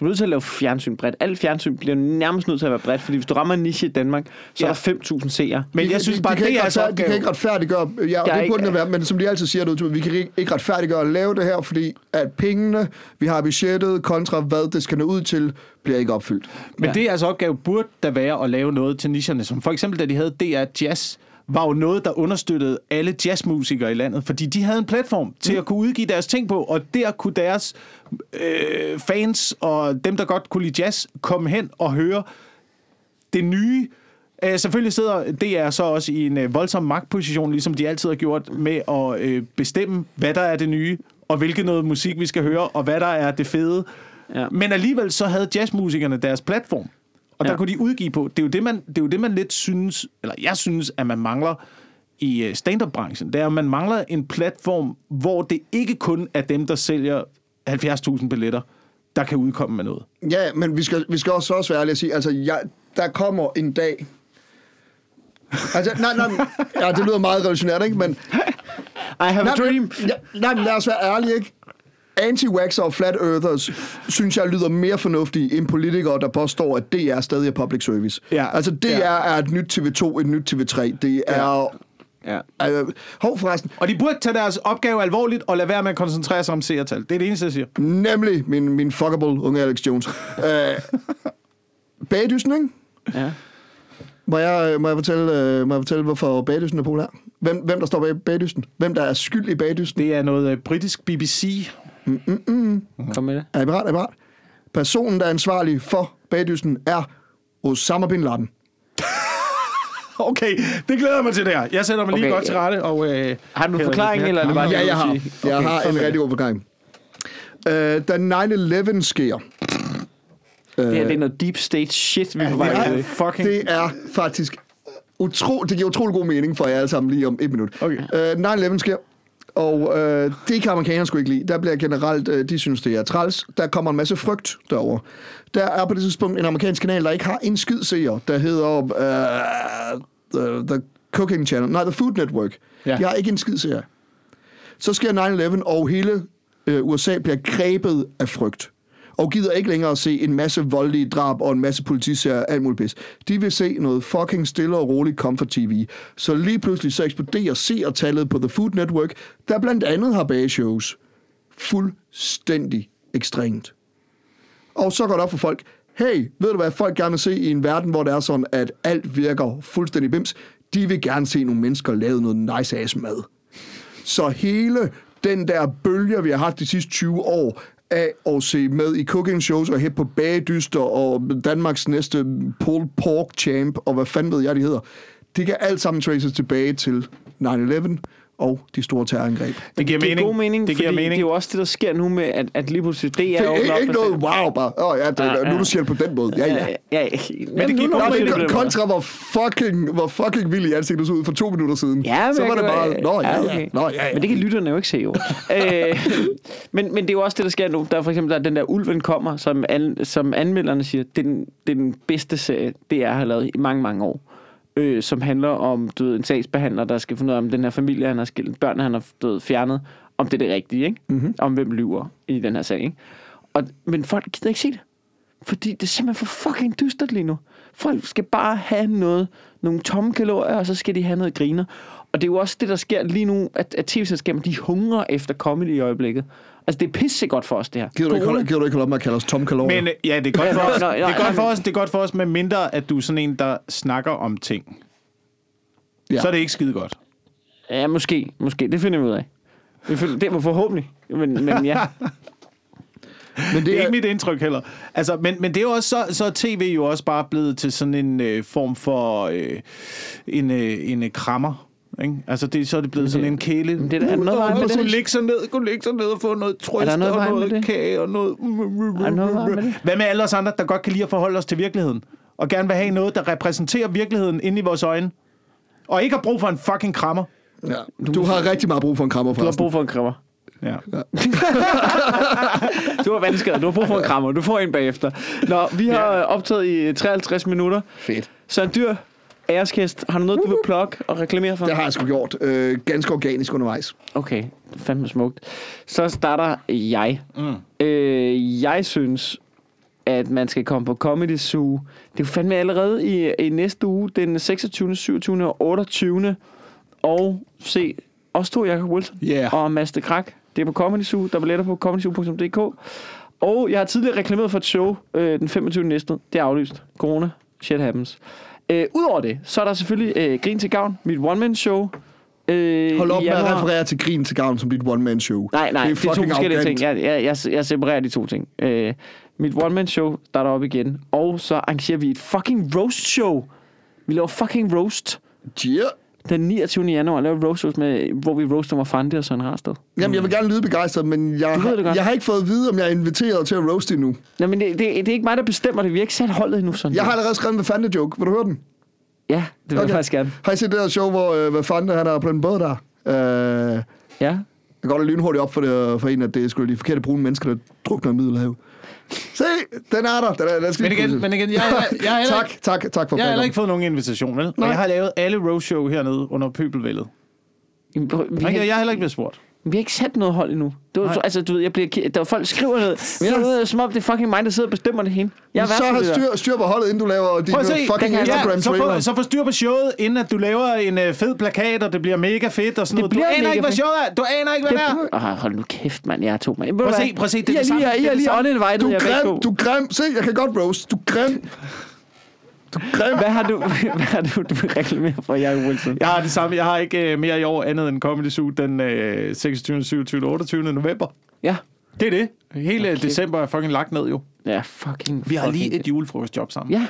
Du er nødt til at lave fjernsyn bredt. Alt fjernsyn bliver nærmest nødt til at være bredt, fordi hvis du rammer en niche i Danmark, så Ja. er der 5.000 seere. Men De- jeg synes de, bare, de kan det ikke er altså retfærd- De kan opgaven. ikke retfærdiggøre, ja, og er det ikke- burde det være, men som de altid siger derude, vi kan ikke- ikke retfærdiggøre at lave det her, fordi at pengene, vi har budgettet, kontra hvad det skal nå ud til, bliver ikke opfyldt. Men Ja. ja. det er altså opgave burde der være at lave noget til nicherne, som for eksempel da de havde DR Jazz, var jo noget, der understøttede alle jazzmusikere i landet, fordi de havde en platform til mm. at kunne udgive deres ting på, og der kunne deres øh, fans og dem, der godt kunne lide jazz, komme hen og høre det nye. Øh, selvfølgelig sidder DR så også i en øh, voldsom magtposition, ligesom de altid har gjort, med at øh, bestemme, hvad der er det nye, og hvilket noget musik vi skal høre, og hvad der er det fede. Ja. Ja. Men alligevel så havde jazzmusikerne deres platform, og der Ja. ja. kunne de udgive på. Det er, jo det, man, det er jo det, man lidt synes, eller jeg synes, at man mangler i øh, stand-up-branchen. Det er, at man mangler en platform, hvor det ikke kun er dem, der sælger 70.000 billetter, der kan udkomme med noget. Ja, men vi skal, vi skal også, også være ærlige og sige, altså, jeg, der kommer en dag... Altså, nej, nej, (laughs) men- ja, det lyder meget revolutionært, ikke? Men, I have nej, a dream. men- Ja, nej, men lad os være ærlige, ikke? Anti-waxer og flat earthers, synes jeg, lyder mere fornuftige end politikere, der påstår, at DR stadig er public service. Ja. Altså, DR Ja. er et nyt TV2, et nyt TV3. Det er... Ja. Ja. Øh, hov, forresten. Og de burde tage deres opgave alvorligt og lade være med at koncentrere sig om seertal. Det er det eneste, jeg siger. Nemlig min, min fuckable unge Alex Jones. Øh, (laughs) bagdysten, ikke? ja. Må jeg, må jeg, fortælle, øh, må jeg fortælle, hvorfor bagdysten er populær? Hvem, hvem der står bag bagdysten? Hvem der er skyld i bagdysten? Det er noget øh, britisk BBC. Kom med det. Er I parat? Er I parat? Personen, der er ansvarlig for bagdysten, er Osama Bin Laden. (laughs) Okay, det glæder jeg mig til det her. Jeg sætter mig lige Okay, godt til ja. rette. Og, øh, Har du en forklaring, eller er det bare Ja, jeg har. Jeg Okay, har sådan en er rigtig god forklaring. Øh, da 9-11 sker, Det her det er noget deep state shit, vi er på vej Ja, til. det fucking- det er faktisk uh, utro, det giver utrolig god mening for jer alle sammen lige om et minut. Okay. Øh, 9-11 sker, og øh, det kan amerikanerne sgu ikke lide. Der bliver generelt, øh, de synes, det er træls. Der kommer en masse frygt derover. Der er på det tidspunkt en amerikansk kanal, der ikke har en skid seer, der hedder øh, the, the Cooking Channel. Nej, The Food Network. Ja. Ja. De har ikke en skid seer. Så sker 9-11, og hele øh, USA bliver grebet af frygt. Og gider ikke længere at se en masse voldelige drab og en masse politiserier og alt muligt pis. De vil se noget fucking stille og roligt comfort TV. Så lige pludselig så eksploderer seertallet på The Food Network, der blandt andet har bageshows. Fuldstændig ekstremt. Og så går det op for folk, hey, ved du hvad folk gerne vil se i en verden, hvor det er sådan, at alt virker fuldstændig bims. De vil gerne se nogle mennesker lave noget nice ass mad. Så hele den der bølge, vi har haft de sidste 20 år, af at se med i cooking shows og hæppe på bagedyster og Danmarks næste pulled pork champ og hvad fanden ved jeg, de hedder. Det kan alt sammen traces tilbage til 9-11 og de store terrorangreb. Det giver Det mening. er god mening, Det giver fordi mening. det er jo også det, der sker nu med, at, at lige pludselig DR Det åbner er op ikke og noget siger- wow, bare. Åh, ja, det, Ja, ja. nu er du siger det på den måde. Ja, ja. Ja, ja. ja. Men gik Nå, op men det kon- kontra, hvor fucking, hvor fucking vild i ansigtet du så ud for to minutter siden. Ja, men så jeg var det kan bare, godt- nå ja, ja, okay. nå ja, ja. Men det kan lytterne jo ikke (laughs) se, jo. øh, men, men det er jo også det, der sker nu. Der er for eksempel der er den der Ulven kommer, som, an, som anmelderne siger, det er, den, det er den bedste serie, DR har lavet i mange, mange år. Øh, som handler om du ved, en sagsbehandler, der skal finde ud af, om den her familie, han har skilt, børn, han har du ved, fjernet, om det er det rigtige, ikke? Mm-hmm. Mhm. Om hvem lyver i den her sag, ikke? Og, men folk gider ikke se det. Fordi det er simpelthen for fucking dystert lige nu. Folk skal bare have noget, nogle tomme kalorier, og så skal de have noget griner. Og det er jo også det, der sker lige nu, at, at tv-selskaberne, de hungrer efter comedy i øjeblikket. Altså, det er pisse godt for os, det her. Gider du, ikke holde, gider du ikke holde op med at kalde os tom kalorier? Men øh, ja, det er godt Ja, for nå, os. nå, Det er nå, godt for nå. os, det er godt for os, men mindre at du er sådan en, der snakker om ting. Ja. Så er det ikke skide godt. Ja, måske. Måske. Det finder vi ud af. Vi finder, det var forhåbentlig. Men, men ja. men Det er ikke mit indtryk heller. Altså, men, men det er jo også, så, så er tv jo også bare blevet til sådan en øh, form for øh, en, øh, en øh, krammer. Ikke? Altså, det, så er det blevet sådan en kæle. men det er der noget vejen med Gå det. ligge sig ned, gå ligge sig ned og få noget trøst noget og vejen med noget det? kage og noget... der noget vejen med det? Hvad med alle os andre, der godt kan lide at forholde os til virkeligheden? Og gerne vil have noget, der repræsenterer virkeligheden inde i vores øjne? Og ikke har brug for en fucking krammer. ja. du, har rigtig meget brug for en krammer, Du har forresten. brug for en krammer. Ja. Du har vandskader. Du har brug for en krammer. Du får en bagefter. Nå, vi har Ja. øh, optaget i 53 minutter. Fedt. Så en dyr æreskæst. Har du noget, du vil plukke og reklamere for? Det har jeg sgu gjort. Øh, ganske organisk undervejs. Okay, fandme smukt. Så starter jeg. Mm. Øh, jeg synes, at man skal komme på Comedy Zoo. Det er jo fandme allerede i, i næste uge, den 26., 27. og 28. Og se os to, Jacob Wilson Yeah. og Master Krak. Det er på Comedy Zoo. Der er billetter på comedyzoo.dk. Og jeg har tidligere reklameret for et show øh, den 25. næste. Det er aflyst. Corona. Shit happens. Øh, Udover det, så er der selvfølgelig øh, Grin til Gavn, mit one-man-show. Øh, Hold i op med at januar. referere til grin til gavn som dit one-man-show. Nej, nej, det er, det er to fucking forskellige arrogant. ting. Jeg, jeg, jeg, jeg separerer de to ting. Øh, mit one-man-show starter op igen, og så arrangerer vi et fucking roast-show. Vi laver fucking roast Yeah. den 29. januar, laver roast shows med, hvor vi roaster mig Fandi og Søren Rarsted. Jamen, jeg vil gerne lyde begejstret, men jeg, Mm. Du ved det har, godt. jeg har ikke fået at vide, om jeg er inviteret til at roast endnu. Nej, men det, det, det, er ikke mig, der bestemmer det. Vi har ikke sat holdet endnu sådan. Jeg har allerede skrevet en hvad fanden joke. Vil du høre den? Ja, det vil okay. jeg faktisk gerne. Har I set det der show, hvor øh, hvad fanden han er på den båd der? Øh, Ja. kan godt lynhurtigt op for, det, øh, for en, at det skulle de forkerte brune mennesker, der drukner i Middelhavet. Se, den er der. Den er, den skal Men lige igen, pludselig. men igen, jeg, jeg, (laughs) jeg, har heller tak, ikke- tak, tak for jeg har heller fanden. ikke fået nogen invitation, vel? Og jeg har lavet alle roadshow hernede under pøbelvældet. Jamen, prøv- Vi Okay, jeg har, har heller ikke blevet spurt. vi har ikke sat noget hold endnu. Det var, Nej. altså, du ved, jeg bliver, ki- der var folk skriver noget, men jeg ved, som om det er fucking mig, der sidder og bestemmer det hele. Jeg er Så vært på har det der. styr, styr på holdet, inden du laver dine Prøv at se, fucking den kan- Instagram Ja, så, trailer. få, så få styr på showet, inden at du laver en øh, fed plakat, og det bliver mega fedt og sådan Det noget. Du bliver aner mega ikke, hvad fedt. showet er. Du aner ikke, hvad det er. Åh, Ah, hold nu kæft, mand. Jeg er to, mand. Prøv at se, prøv at se, det er I er det samme, lige, det er I er det lige samme. uninvited, Du jeg er er begge grim, to. du er grim. Se, jeg kan godt roast. Du er grim. Du er grim. Hvad har du, (laughs) hvad har du, du vil reklamere for, Jacob Wilson? Jeg har det samme. Jeg har ikke øh, mere i år andet end Comedy Zoo den øh, 26., 27., 28. november. Ja. Det er det. Hele okay. december er fucking lagt ned jo. Ja, fucking... Vi har fucking lige et julefrokostjob sammen. Ja,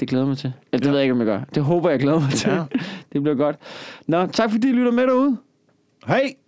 det glæder jeg mig til. Eller, det ved jeg ikke, om jeg gør. Det håber jeg, jeg glæder mig til. (laughs) Ja. det bliver godt. Nå, tak fordi I lytter med derude. Hej!